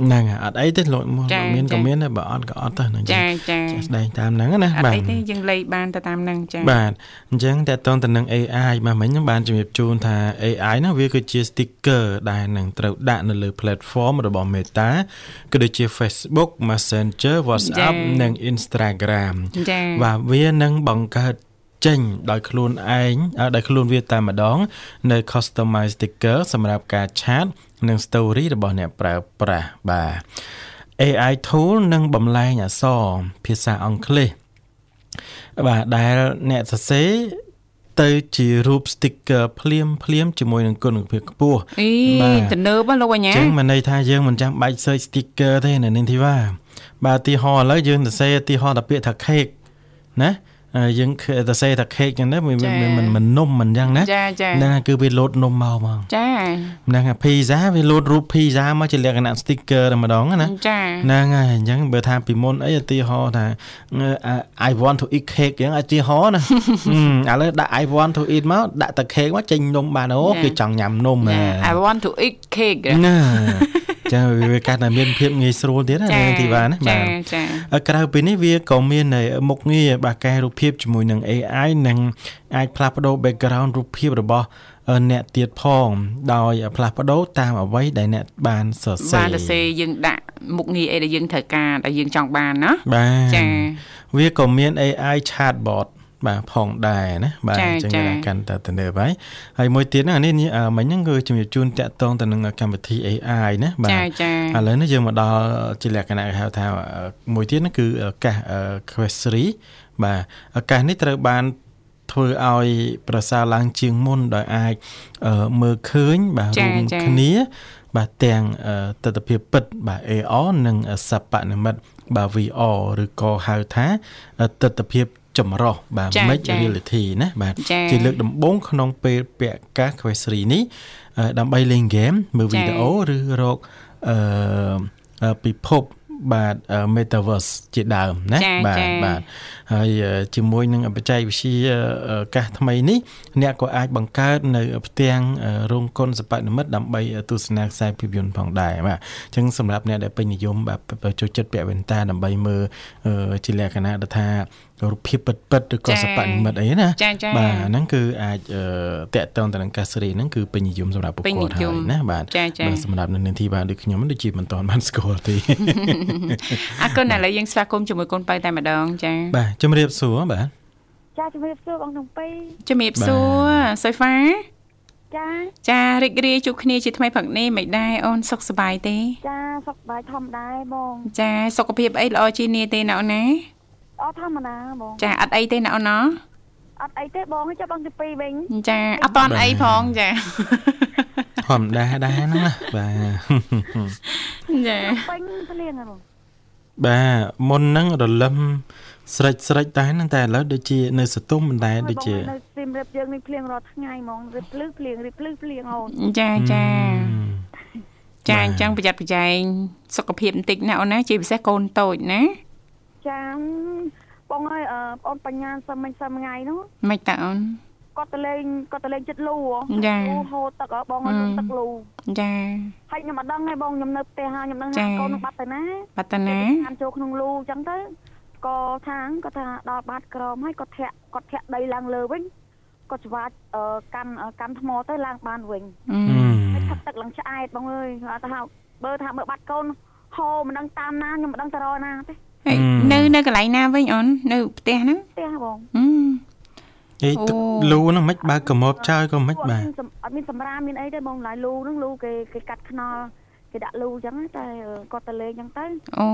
Speaker 2: ហ្នឹងហើយអត់អីទេលោកម
Speaker 1: ចា
Speaker 2: កមាន
Speaker 1: ចា
Speaker 2: ក៏មានដែរបើអត់ក៏អត់ទៅហ្នឹង
Speaker 1: ចាចា
Speaker 2: ចាស់ស្ដែងតាមហ្នឹង
Speaker 1: អ
Speaker 2: ណា
Speaker 1: ត់
Speaker 2: បាទ
Speaker 1: អីទេយើងលេខបានទៅតាមហ្នឹងចា៎
Speaker 2: បាទអញ្ចឹងតើតងទៅនឹង AI មកមិញហ្នឹងបានជំរាបជូនថា AI ហ្នឹងវាគឺជា sticker ដែលនឹងត្រូវដាក់នៅលើ platform របស់ Meta ក៏ដូចជា Facebook Messenger WhatsApp
Speaker 1: ចា
Speaker 2: និង Instagram
Speaker 1: ចា៎
Speaker 2: បាទវានឹងបង្កើតចេញដោយខ្លួនឯងអឺដោយខ្លួនវាតែម្ដង នៅ customize sticker សម្រាប់ការឆាត និង story របស់អ្នកប្រើប្រាស់បាទ AI tool នឹងបំលែងអក្សរភាសាអង់គ្លេសបាទដែលអ្នកសរសេរទៅជារូប sticker ភ្លាមភ្លាមៗជាមួយនឹងគុណភាពខ្ពស់
Speaker 1: អី
Speaker 2: បាទ
Speaker 1: ទំនើបហ៎លោកបញ្ញា
Speaker 2: ចឹងមានន័យថាយើងមិនចាំបាច់ search sticker ទេនៅនាងធីវ៉ាបាទឧទីហោឥឡូវយើងសរសេរឧទីហោតាពាក្យថា cake ណាអឺយើងឃើញសរសេរថា cake ចឹងណាវាវាវាមិនមិននំមិនចឹងណា
Speaker 1: ចាចា
Speaker 2: ហ្នឹងហើយគឺវាលោតនំមកហ្មង
Speaker 1: ចា
Speaker 2: ហ្នឹងហើយ pizza វាលោតរូប pizza មកជាលក្ខណៈ sticker តែម្ដងណា
Speaker 1: ចា
Speaker 2: ហ្នឹងហើយអញ្ចឹងបើថាពីមុនអីឧទាហរណ៍ថាអឺ I want to eat cake ចឹងឧទាហរណ៍ណា ហឹមឥឡូវដាក់ I want to eat មកដាក់តែ cake មកចេញនំបានអូគឺចង់ញ៉ាំនំហ៎
Speaker 1: ចា I want to eat cake
Speaker 2: ណា ចាវាកាន់តែមានភាពងាយស្រួលទៀតណានាងធីវ៉ាណា
Speaker 1: ចា
Speaker 2: បាទ
Speaker 1: ចា
Speaker 2: អឺក្រៅពីនេះវាក៏មាននៅមុខងារបាទកែរូបភាពជាមួយនឹង AI និងអាចផ្លាស់ប្ដូរ background រូបភាពរបស់អឺអ្នកទៀតផង ដោយផ្លាស់ប្ដូរតាមអ្វីដែលអ្នកបានសរសេរ
Speaker 1: បានទៅសេយើងដាក់មុខងារអីដែលយើងត្រូវការដែលយើងចង់បានណា
Speaker 2: បាទ
Speaker 1: ចា
Speaker 2: វាក៏មាន AI chatbot បាទផងដែរណាបាទ
Speaker 1: ចា
Speaker 2: អញ្ចឹងវា
Speaker 1: ចា
Speaker 2: កាន់តែទំនើបហើយហើយមួយទៀតហ្នឹងអានេះអឺមិញហ្នឹងគឺជំរាបជូនតាក់ទងទៅនឹងកម្មវិធី AI ណាបាទ
Speaker 1: ចាចា
Speaker 2: ឥឡូវនេះយើងមកដល់ជាលក្ខណៈគេហៅថាអឺមួយទៀតហ្នឹងគឺឱកាសអឺ Questry បាទឱកាសនេះត្រូវបានធ្វើឲ្យប្រសើរឡើងជាងមុនដោយអាចអឺមើលឃើញបាទ
Speaker 1: ចា
Speaker 2: រួម
Speaker 1: ចា
Speaker 2: គ្នា បាទទាំងអឺទស្សនវិជ្ជាពិតបាទ AR និងសពនិមិត្តបាទ VR ឬក៏ហៅថាអឺទស្សនវិជ្ជាចម្រោះបាទ
Speaker 1: ចា៎
Speaker 2: Mixed
Speaker 1: ចា៎
Speaker 2: Reality ណាបាទ
Speaker 1: ចា៎
Speaker 2: ជាលើកដំបូងក្នុងពេលពាក់កាស Quest 3នេះអឺដើម្បីលេងហ្គេមមើល
Speaker 1: ចា៎
Speaker 2: វីដេអូឬរកអឺអឺពិភពបាទអឺ Metaverse ជាដើមណា
Speaker 1: ចា៎
Speaker 2: ណាបាទ
Speaker 1: ចា៎
Speaker 2: បាទហើយអឺជាមួយនឹងបច្ចេកវិទ្យាអឺកាសថ្មីនេះអ្នកក៏អាចបង្កើតនៅផ្ទាំងអឺរោងកុនសិប្បនិមិត្តដើម្បីទស្សនាខ្សែភាពយន្តផងដែរបាទអញ្ចឹងសម្រាប់អ្នកដែលពេញនិយមបាទចូលចិត្តពាក់វ៉ែនតាដើម្បីមើលអឺជាលក្ខណៈដូចថារូបភាពពិតៗឬក៏
Speaker 1: ចា៎
Speaker 2: សិប្បនិមិត្តអីណា
Speaker 1: ចាចា
Speaker 2: បាទហ្នឹងគឺអាចអឺតាក់ទងទៅនឹងកាសរីហ្នឹងគឺពេញនិយមសម្រាប់ពួក
Speaker 1: ពេញនិ
Speaker 2: គាត់
Speaker 1: យ
Speaker 2: ហើ
Speaker 1: ម
Speaker 2: យណាបាទ
Speaker 1: ចា៎ចា៎
Speaker 2: បាទសម្រាប់នៅនាងធីបាទដូចខ្ញុំហ្នឹងដូចជាមិនទាន់បានស្គាល់ទេ
Speaker 1: អរគុណឥឡូវយើងស្វាគមន៍ជាមួយកូនបើតែម្ដងចា
Speaker 2: បាទជំរាបសួរបាទ
Speaker 5: ចាជំរាបសួរបងទាំងពីរ
Speaker 1: ជំរាបសួរសូហ្វា
Speaker 5: ចា
Speaker 1: ចារីករាយជួបគ្នាជាថ្មីផឹកនេះមិនដែរអូនសុខសប្បាយទេ
Speaker 5: ចាសុខសប្បាយធម្មតាឯងបង
Speaker 1: ចាសុខភាពអីល្អជាងនេះទេណ៎អូនណា
Speaker 5: អត់ធម្មតាបង
Speaker 1: ចាអត់អីទេណ៎អូនណ៎
Speaker 5: អត់អីទេបងចាំបងទាំងពីរវិញ
Speaker 1: ចាអត់តន់
Speaker 2: បាទ
Speaker 1: អីផងចា
Speaker 2: ធម្មតាដែរហ្នឹងណាបាទ
Speaker 1: ចា
Speaker 5: ពេញស្លៀងហ្នឹងបង
Speaker 2: បាទមុនហ្នឹងរលឹមស្រិចស្រិចដែរហ្នឹងតែឥឡូវដូចជានៅសតុំមិនដែរដូចជា
Speaker 5: បងនៅស៊ីមរៀបយើងនេះភ្លៀងរាល់ថ្ងៃហ្មងរៀបភ្លឺភ្លៀងរៀបភ្លឺភ្លៀងអូន
Speaker 1: ចាចាចា
Speaker 2: បាទ
Speaker 1: អញ្ចឹងប្រយ័ត្នប្រយែងសុខភាពបន្តិចណាអូនណាជាពិសេសកូនតូចណា
Speaker 5: ចាបងអើយអឺបងបញ្ញាសឹមមិញសឹមថ្ងៃហ្នឹង
Speaker 1: មិនតាអូន
Speaker 5: គាត់ទៅលេងគាត់ទៅលេងចិត្តលូ
Speaker 1: ចា
Speaker 5: ហ៎លូហូរទឹកហ៎បងឲ្យ
Speaker 1: ហឹ
Speaker 5: លូ
Speaker 1: ម
Speaker 5: ទឹកលូ
Speaker 1: ចា
Speaker 5: ហើយខ្ញុំអត់ដឹងទេបងខ្ញុំនៅផ្ទះហើយខ្ញុំដឹង
Speaker 1: ចា
Speaker 5: ថាកូននឹងបាត់ទៅណា
Speaker 1: បត្តនា
Speaker 5: តាមចូលក្នុងលូអញ្ចឹងទៅក៏ថាងគាត់ថាដល់បាត់ក្រមហើយគាត់ធាក់គាត់ធាក់ដីឡើងលើវិញគាត់ស្វាច់អឺកាន់អឺកាន់ថ្មទៅឡើងបានវិញ
Speaker 1: អឺ
Speaker 2: អឺ
Speaker 5: ហើយថាប់ទឹកឡើងឆ្អែតបងអើយគាត់ថាបើថាបើបាត់កូនហូរមិនដឹងតាមណាខ្ញុំមិនដឹងទៅរកណាទេ
Speaker 1: ហើយនៅនៅកន្លែងណាវិញអូននៅផ្ទះហ្នឹង
Speaker 5: ផ្ទះបង
Speaker 1: អឺ
Speaker 2: អីទឹក
Speaker 1: អូ
Speaker 2: លូហ្នឹងមិនបើកកម្របចោលក៏មិនបាទ
Speaker 5: អត់មានសម្អត់មានសម្រាមមានអីទេបងឡាយលូហ្នឹងលូគេគេកាត់ខ្នល់គេដាក់លូអញ្ចឹងតែអឺគាត់ទៅលេងអញ្ចឹងទៅ
Speaker 1: អូ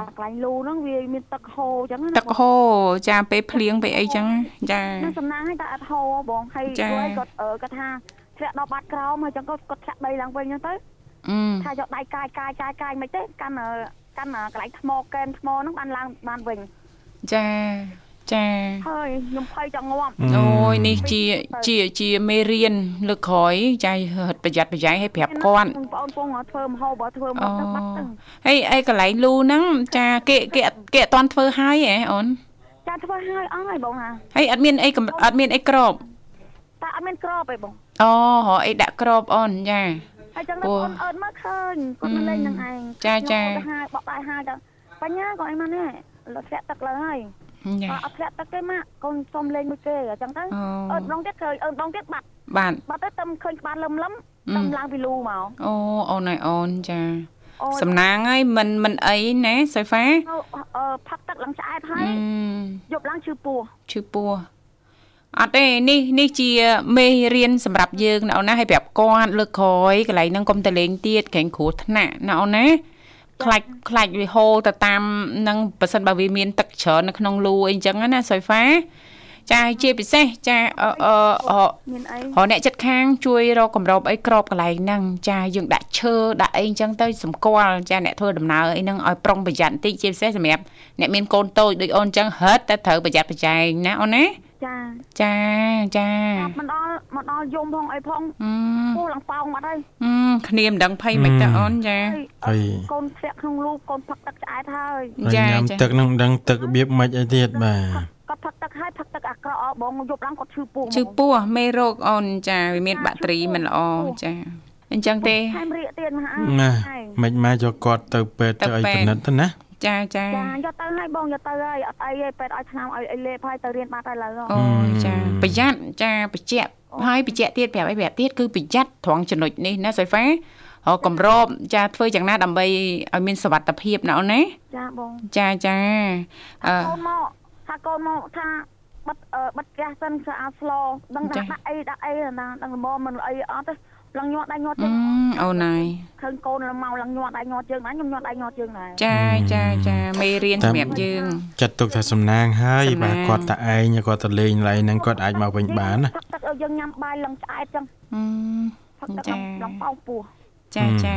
Speaker 5: ដល់កន្លែងលូហ្នឹងវាមានទឹកហូរអញ្ចឹងណា
Speaker 1: ទឹកហូរចាពេលភ្លៀងពេលអីចឹងចា
Speaker 5: ហ្នឹងសំណាងឲ្យតែអត់ហូរបងហើយ
Speaker 1: ចា
Speaker 5: ព្រោះឲ្យគាត់អឺគាត់ថាធ្លាក់ដល់បាត់ក្រោមហើយអញ្ចឹងគាត់គាត់ធ្លាក់ដីឡើងវិញអញ្ចឹងទៅ
Speaker 1: អឺ
Speaker 5: ថាយកដៃកាយកាយកាយកាយមិនទេកាន់អឺកាន់អឺកន្លែងថ្មកែមថ្មហ្នឹងបានឡើងបានវិញ
Speaker 1: ចាចា
Speaker 5: ហើយខ្ញុំភ័យចង់ងាប់
Speaker 1: អូយនេះជាជាជាមេរៀនលើកក្រោយចារត់ប្រយ័ត្នប្រយែងឲ្យប្រាប់គាត់
Speaker 5: បងប្អូនពងធ្វើមហោបបើធ្វើមហោបទៅបាត់ទៅ
Speaker 1: អីអីកន្លែងលូហ្នឹងចាគេគេអត់គេអត់តន់ធ្វើហើយហ៎អូន
Speaker 5: ចាធ្វើឲ្យអស់ហើយបងណា
Speaker 1: ហើយអត់មានអីកំអត់មានអីក្រប
Speaker 5: តែអត់មានក្របទេបង
Speaker 1: អូរកអីដាក់ក្របអូនចា
Speaker 5: ហើយចឹង
Speaker 1: អូ
Speaker 5: ដល់អូនអត់មកឃើញគា
Speaker 1: អឺ
Speaker 5: ត់ទៅលេងនឹងឯង
Speaker 1: ចាចា
Speaker 5: ខ្ញុំគាត់ទៅហាយបក់ដៃហាយដល់បញ្ញាក៏អីមកនេះលោកធ្លាក់ទឹកឡើងហើយ
Speaker 1: ចា
Speaker 5: អត់អត់ធ្លាក់ទឹកទេម៉ាក់កូនសុំលេងមួយគេអញ្ចឹងទៅ
Speaker 1: អូ
Speaker 5: អត់ដងទៀតឃើញអត់ដងទៀតបាត់
Speaker 1: បាទ
Speaker 5: បាត់ទៅតែមិនឃើញក្បាលលឹមលឹម
Speaker 1: អឺ
Speaker 5: តែឡើងពីលូមក
Speaker 1: អូអូនអើយអូនចា
Speaker 5: អូយ
Speaker 1: សំណាងហើយមិនមិនអីណាសូហ្វា
Speaker 5: អឺអឺផឹកទឹកឡើងឆ្អែតហើយ
Speaker 1: អឺ
Speaker 5: យប់ឡើងឈឺពោះ
Speaker 1: ឈឺពោះអត់ទេនេះនេះជាមេរៀនសម្រាប់យើងណាអូនណាឲ្យប្រាប់គាត់លើកក្រោយកន្លែងហ្នឹងកុំទៅលេងទៀតក្រែងគ្រោះថ្នាក់ណាអូនណាខ្លាច់ខ្លាច់វាហូរទៅតាមនឹងប៉ះសិនបើវាមានទឹកច្រើននៅក្នុងលូអីចឹងណាសូហ្វាចាហើយជាពិសេសចាអឺអឺអឺ
Speaker 5: មានអី
Speaker 1: រអ្នកចិត្តខាងជួយរកកម្របអីក្របកន្លែងហ្នឹងចាយើងដាក់ឈើដាក់អីអញ្ចឹងទៅសម្គាល់ចាអ្នកធ្វើដំណើរអីហ្នឹងឲ្យប្រុងប្រយ័ត្នបន្តិចជាពិសេសសម្រាប់អ្នកមានកូនតូចដូចអូនអញ្ចឹងហិតតែត្រូវប្រយ័ត្នប្រយែងណាអូនណា
Speaker 5: ចា
Speaker 1: ចាចា
Speaker 5: ចាប់មិនដល់មកដល់យំផងអីផង
Speaker 1: អឺ
Speaker 5: ពោះឡើងប៉ោងបាត់ហើយ
Speaker 1: អឺគ្នាមិនដឹងភ័យមិនតែអូនចា
Speaker 2: ហើ
Speaker 5: ហើយ
Speaker 2: យក
Speaker 5: ូនធ្លាក់ក្នុងលូកូនផឹកទឹកឆ្អែតហើយ
Speaker 2: ហើយ
Speaker 1: ចា
Speaker 2: ញ៉ាំ
Speaker 1: ចា
Speaker 2: ទឹកហ្នឹងមិនដឹងទឹករបៀបម៉េចអីទៀតបាទ
Speaker 5: គាត់ផឹកទឹកហើយផឹកទឹកអាក្រក់អោបងយប់ឡើងគាត់ឈឺពោះហ្មង
Speaker 1: ជឺពោះមេរោគអូនចាវាមានបាក់តេរីមិនល្អចាអញ្ចឹងទេ
Speaker 5: ថែមរៀកទៀតមកអា
Speaker 2: ណា
Speaker 5: ហើយ
Speaker 2: មិនមកយកគាត់ទៅពេទ្យ
Speaker 1: ទៅ
Speaker 2: ទៅអី
Speaker 1: ពេទ្យ
Speaker 2: ពិនិត្យទៅណា
Speaker 1: ចាចា
Speaker 5: ចាយកទៅហើយបងយកទៅហើយអត់អីទេពេទ្យឲ្យថ្នាំឲ្យអីលេបហើយទៅរៀនបាត់ហើយឥឡូវហ៎
Speaker 1: អូចាប្រយ័ត្នចាបច្ចៈហើយបច្ចៈទៀតប្រាប់អីប្រាប់ទៀតគឺប្រយ័ត្នត្រង់ចំណុចនេះណាសូហ្វារកកម្របចាធ្វើយ៉ាងណាដើម្បីឲ្យមានសុវត្ថិភាពណាអូនណា
Speaker 5: ចាបង
Speaker 1: ចាចាអឺ
Speaker 5: កូនមកថាកូនមកថាបិទអឺបិទផ្ទះសិនគឺអាស្លោដឹង
Speaker 1: ចា
Speaker 5: ថាដាក់អីដាក់អីណាដឹងល្មមមិនអីអត់ទេឡើងញាត់ដៃញាត់ជើ
Speaker 1: អឺ
Speaker 5: ង
Speaker 1: អូនហើយ
Speaker 5: ឃើញកូនមកឡើងញាត់ដៃញាត់ជើងណាខ្ញុំញាត់ដៃញាត់ជើងដែរ
Speaker 1: ចាចាចាមេរៀនសម្រាប់យើង
Speaker 2: ចាត់ទុកថាសំណាងហើយ
Speaker 1: សំណា
Speaker 2: បាទ
Speaker 1: ង
Speaker 2: គាត់តែឯងគាត់ទៅលេងឡៃហ្នឹងគាត់អាចមកវិញបានណា
Speaker 5: ផឹកទឹកឲ្យយើងញ៉ាំបាយឡើងឆ្អែតចឹង
Speaker 1: អឺ
Speaker 5: ផឹកទឹក
Speaker 1: ចា
Speaker 5: ឡើងឡើងប៉ោងពោះ
Speaker 1: ចា
Speaker 2: ម
Speaker 1: ចា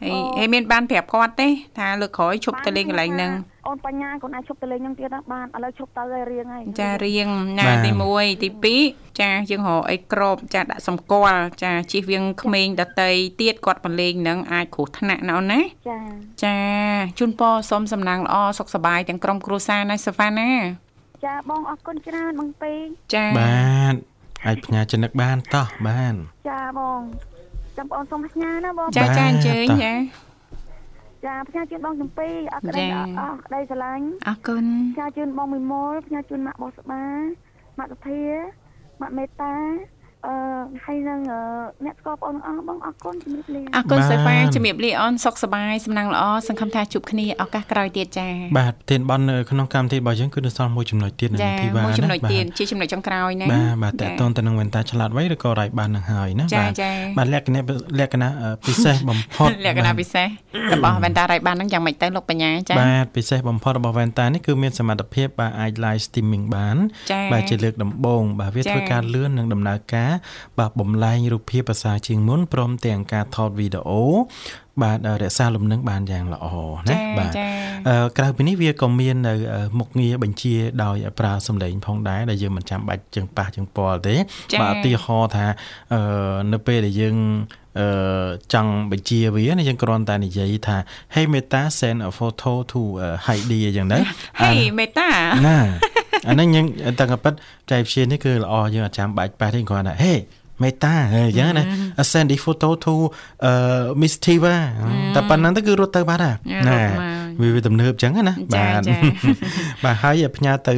Speaker 1: ហើយហើយមានបានប្រាប់គាត់ទេ ថាលើកក្រោយឈប់ទៅលេងកន្លែងហ្នឹង
Speaker 5: អូនបញ្ញាកូនអាចឈប់ទៅលេងហ្នឹងទៀតណាបានឥឡូវឈប់ទៅហើយរៀងហើយ
Speaker 1: ចារៀង
Speaker 2: បា
Speaker 1: ណា
Speaker 2: ទ
Speaker 1: ទី1ទី2ចាយើងរកអីក្របចាដាក់សម្គាល់ចាជិះវៀងក្មេងដតីទៀតគាត់ប្រលេងនឹងអាចគ្រោះថ្នាក់ណាអូនណា
Speaker 5: ចា
Speaker 1: ចាជូនពរសូមសំណាងល្អសុខសប្បាយទាំងក្រុមគ្រួសារណាសាវ៉ាណា
Speaker 5: ចាបងអរគុណច្រើនបងពេង
Speaker 1: ចា
Speaker 2: បាទអាចផ្ញើចនិកបានតោះបាន
Speaker 5: ចាបងចាំបងអូនសូមផ្ញើណាបង
Speaker 1: ចា
Speaker 2: បាទ
Speaker 1: ចាអញ្ជើញ
Speaker 2: តោះ
Speaker 1: ចា
Speaker 5: ចាផ្ញើជូនបងចំពីអរក្ដី
Speaker 1: ចា
Speaker 5: អរក្ដីស្រឡាញ់
Speaker 1: អរគុណ
Speaker 5: ផ្ញើជូនបងមួយមូលផ្ញើជូនម៉ាក់បោះស្បាម៉ាក់សធាម៉ាក់មេតាអឺហើយនឹងអឺអ្នកស្គាល់បងអស់បងអរគុណជំរាបលា
Speaker 1: អរគុណ
Speaker 2: បាទ
Speaker 1: សាវ៉ាជំរាបលាអូនសុខសប្បាយសំណាងល្អសង្ឃឹមថាជួបគ្នាឱកាសក្រោយទៀតចា
Speaker 2: បាទប្រធានបននៅក្នុងកម្មវិធីរបស់យើងគឺនៅសល់មួយចំណុចទៀតនៅ
Speaker 1: ចា
Speaker 2: នាងធីវ៉ា
Speaker 1: មួយ
Speaker 2: ណា
Speaker 1: ចំណុច
Speaker 2: បាទ
Speaker 1: ទៀតជាចំណុចចុងក្រោយណា
Speaker 2: បាទបាទតើ
Speaker 1: ចា
Speaker 2: តតទៅនឹងវ៉ែនតាឆ្លាតវៃឬក៏រ៉ៃបាននឹងហើយណា
Speaker 1: ចា
Speaker 2: បាទ
Speaker 1: ចា
Speaker 2: បាទលក្ខណៈលក្ខណៈអឺពិសេសបំផុត
Speaker 1: លក្ខណៈពិសេស របស់វ៉ែនតារ៉ៃបានហ្នឹងយ៉ាងម៉េចទៅលោកបញ្ញាចា
Speaker 2: បាទពិសេសបំផុតរបស់វ៉ែនតានេះគឺមានសមត្ថភាពបាទអាច live streaming បាន
Speaker 1: ចា
Speaker 2: បាទជាលើកដំបូងបាទវា
Speaker 1: ចា
Speaker 2: ធ្វើការលឿននិងដំណើរការ បាទបំលែងរូបភាពភាសាជាងមុនព្រមទាំងការថតវីដេអូបាទអឺរក្សាលំនឹងបានយ៉ាងល្អណា
Speaker 1: ចា
Speaker 2: បាទ
Speaker 1: ចា
Speaker 2: អឺក្រៅពីនេះវាក៏មាននៅអឺមុខងារបញ្ជាដោយប្រើសម្លេងផងដែរដែលយើងមិនចាំបាច់ជើងប៉ះជើងពាល់ទេ
Speaker 1: ចា៎
Speaker 2: បាទឧទាហរណ៍ថាអឺនៅពេលដែលយើងអឺចង់បញ្ជាវាណាយើងគ្រាន់តែនិយាយថា Hey Meta send a photo to uh, Heidi អញ្ចឹងទៅ
Speaker 1: ហេមេតា
Speaker 2: ណាអាហ្នឹងយើងតាំងកពិតចៃព្យានេះគឺល្អយើងអាចចាំបាច់ប៉ះទេគ្រាន់តែហេមេតាហេអញ្ចឹងណា I send the photo to អឺ Miss Tiva តែប៉ុណ្ណឹងទៅគឺរត់ទៅបាត់ហើយ
Speaker 1: រត់
Speaker 2: ណា
Speaker 1: មក
Speaker 2: វាវាទំនើបអញ្ចឹងណា
Speaker 1: ចា
Speaker 2: បាទ
Speaker 1: ចា
Speaker 2: បាទហើយផ្ញើទៅ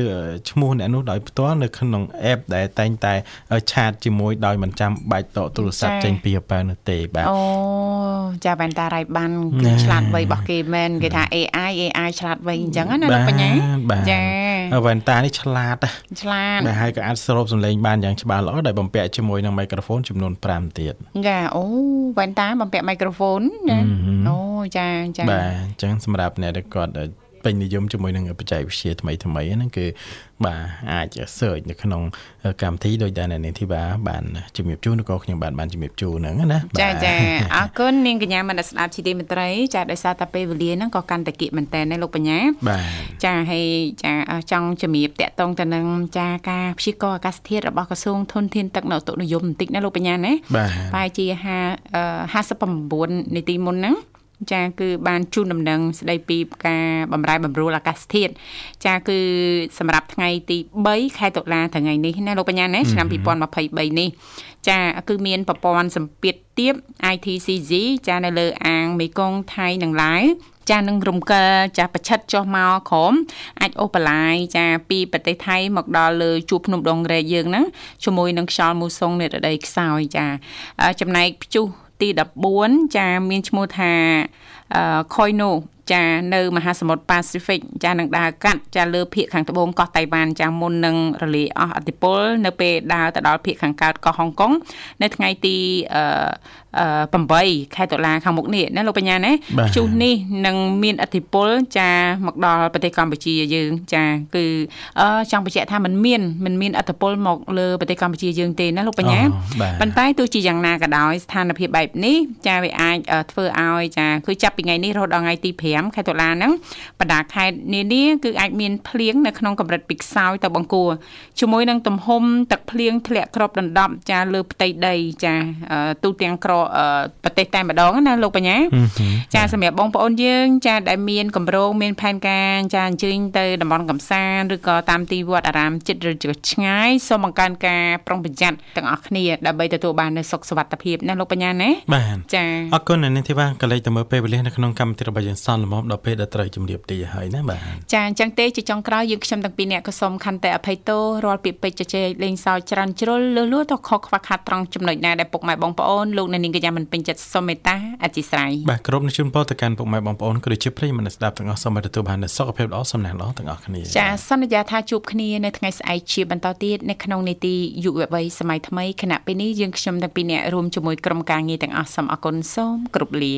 Speaker 2: ឈ្មោះអ្នកនោះដោយផ្ទាល់នៅក្នុង app ដែលតែងតែឆាតជាមួយដោយមិនចាំបាច់តកទូរស័ព្ទចេញពីអប៉ៅនោះទេបាទ
Speaker 1: អូចាវ៉ែនតារ៉ៃបាន
Speaker 2: ណា
Speaker 1: គឺឆ្លាតវៃរបស់គេមែនគេថា AI AI ឆ្លាតវៃអញ្ចឹងណាលោកបញ្ញា
Speaker 2: បាទ
Speaker 1: ចា
Speaker 2: វ៉ែនតានេះឆ្លាតណា ស់
Speaker 1: ឆ្លាត
Speaker 2: ដែលហើយក៏អាចស្រូបសម្លេងបានយ៉ាងច្បាស់ល្អដោយបំពាក់ជាមួយនឹងមីក្រូហ្វូនចំនួន5ទៀត
Speaker 1: ចាអូវ៉ែនតាបំពាក់មីក្រូហ្វូនណា
Speaker 2: ហឹម
Speaker 1: អូចាចា
Speaker 2: បាទអញ្ចឹងសម្រាប់អ្នកដែលគាត់ពេញនិយមជាមួយនឹងបច្ចេកវិទ្យាថ្មីថ្មីហ្នឹងគឺបាទអាច search នៅក្នុងកម្មវិធីដោយដែលអ្នកនាងធីវ៉ាបានជំរាបជូនឬក៏ខ្ញុំបានបានជំរាបជូនហ្នឹងណា
Speaker 1: ចា
Speaker 2: បាទ
Speaker 1: ចាអរគុណនាងកញ្ញាមនស្សស្ដាប់ជីវិតមន្ត្រីចាដោយសារតែពេលវេលាហ្នឹងក៏កាន់តែគៀកមែនតើណាលោកបញ្ញា
Speaker 2: បាទ
Speaker 1: ចាហើយចាចង់ជំរាបតកតងទៅនឹងចាការព្យាករណ៍អាកាសធាតុរបស់ក្រសួងធនធានទឹកនៅឧតុនិយមបន្តិចណាលោកបញ្ញាណា
Speaker 2: បាទ
Speaker 1: ប្រហែលជា5 59នាទីមុនហ្នឹងចាគឺបានជូនដំណឹងស្ដីពីការបំរែបំរួលអាកាសធាតុចាគឺសម្រាប់ថ្ងៃទី3ខែតុលាថ្ងៃនេះណាលោកបញ្ញាណាឆ្នាំ2023នេះ ចាគឺមានប្រព័ន្ធសម្ពាធទាប ITCG ចានៅលើអាងមេគង្គថៃនិងឡាវចានឹងរំកិលចាប្រឆិតចុះមកក្រមអាចអូសបន្លាយចាពីប្រទេសថៃមកដល់លើជួរភ្នំដងរែកយើងហ្នឹងជាមួយនឹងខ្យល់មូសុងនៃរដូវខ្សោយចាអឺចំណែកព្យុះទី14ចាមានឈ្មោះថាអឺ Koino ចានៅមហាសមុទ្រប៉ាស៊ីហ្វិកចានឹងដើរកាត់ចាលើភៀកខាងត្បូងកោះតៃវ៉ាន់ចាមុននឹងរលាយអស់អធិពលនៅពេលដើរទៅដល់ភៀកខាងកើតកោះហុងកុងនៅថ្ងៃទីអឺអឺ8ខែតុលាខាងមុខនេះណាលោកបញ្ញាណា
Speaker 2: បាទ
Speaker 1: ព្យុះនេះនឹងមានអធិពលចាមកដល់ប្រទេសកម្ពុជាយើងចាគឺអឺចង់បញ្ជាក់ថាมันមានมันមានអធិពលមកលើប្រទេសកម្ពុជាយើងទេណាលោកបញ្ញា
Speaker 2: បាទ
Speaker 1: ប៉ុន្តែទោះជាយ៉ាងណាក៏ដោយស្ថានភាពបែបនេះចាវាអាចអឺធ្វើឲ្យចាគឺចាប់ពីថ្ងៃនេះរហូតដល់ថ្ងៃទី5ខែតុលាហ្នឹងបណ្ដាខេត្តនានាគឺអាចមានភ្លៀងនៅក្នុងកម្រិតពីខ្សោយទៅបង្គួរជាមួយនឹងទំហំទឹកភ្លៀងធ្លាក់គ្របដណ្ដប់ចាលើផ្ទៃដីចាអឺទូទាំងក្រអឺប្រទេសតែម្ដងណាលោកបញ្ញា
Speaker 2: ហឹមហឹម
Speaker 1: ចាសម្រាប់បងប្អូនយើងចាដែលមានកម្រោងមានផែនការចាអញ្ជើញទៅតំបន់កំសាន្តឬក៏តាមទីវត្តអារាមចិត្តឬក៏ឆ្ងាយសូមបង្កើនការប្រុងប្រយ័ត្នទាំងអស់គ្នាដើម្បីទទួលបាននូវសុខសុវត្ថិភាពណាលោកបញ្ញាណា
Speaker 2: បាទ
Speaker 1: ចា
Speaker 2: អរគុណអ្នកនាងធីវ៉ាក៏លេចទៅមើលពេលវេលានៅក្នុងកម្មវិធីរបស់យើងសន្លំមដល់ពេលដែលត្រូវជំរាបទីហើយណាបាទ
Speaker 1: ចាអញ្ចឹងទេជាចុងក្រោយយើងខ្ញុំទាំងពីរអ្នកក៏សូមខន្តីអភ័យទោសរាល់ពាក្យពេចន៍ជជែកលេងសើចច្រើនជ្រុលលឺលួទៅខុសខ្វះខាតត្រង់ចំណុចណាដែលពុកម៉ែបងប្អូនលោកអ្នកនាងកញ្ញាមិនពេញចិត្តសូមមេត្តាអធិស្ឋាន
Speaker 2: បាទគ្រប់នឹងជូនពរទៅកាន់ពុកម៉ែបងប្អូនក៏ដូចជាប្រិយមិត្តអ្នកស្ដាប់ទាំងអស់សូមឲ្យទទួលបាននូវសុខភាពល្អសំណាងល្អទាំងអស់គ្នា
Speaker 1: ចាសន្យាថាជួបគ្នានៅថ្ងៃស្អែកជាបន្តទៀតនៅក្នុងនីតិយុវវ័យសម័យថ្មីខណៈពេលនេះយើងខ្ញុំទាំងពីរអ្នករួមជាមួយក្រុមការងារទាំងអស់សូមអរគុណសូមគោរពលា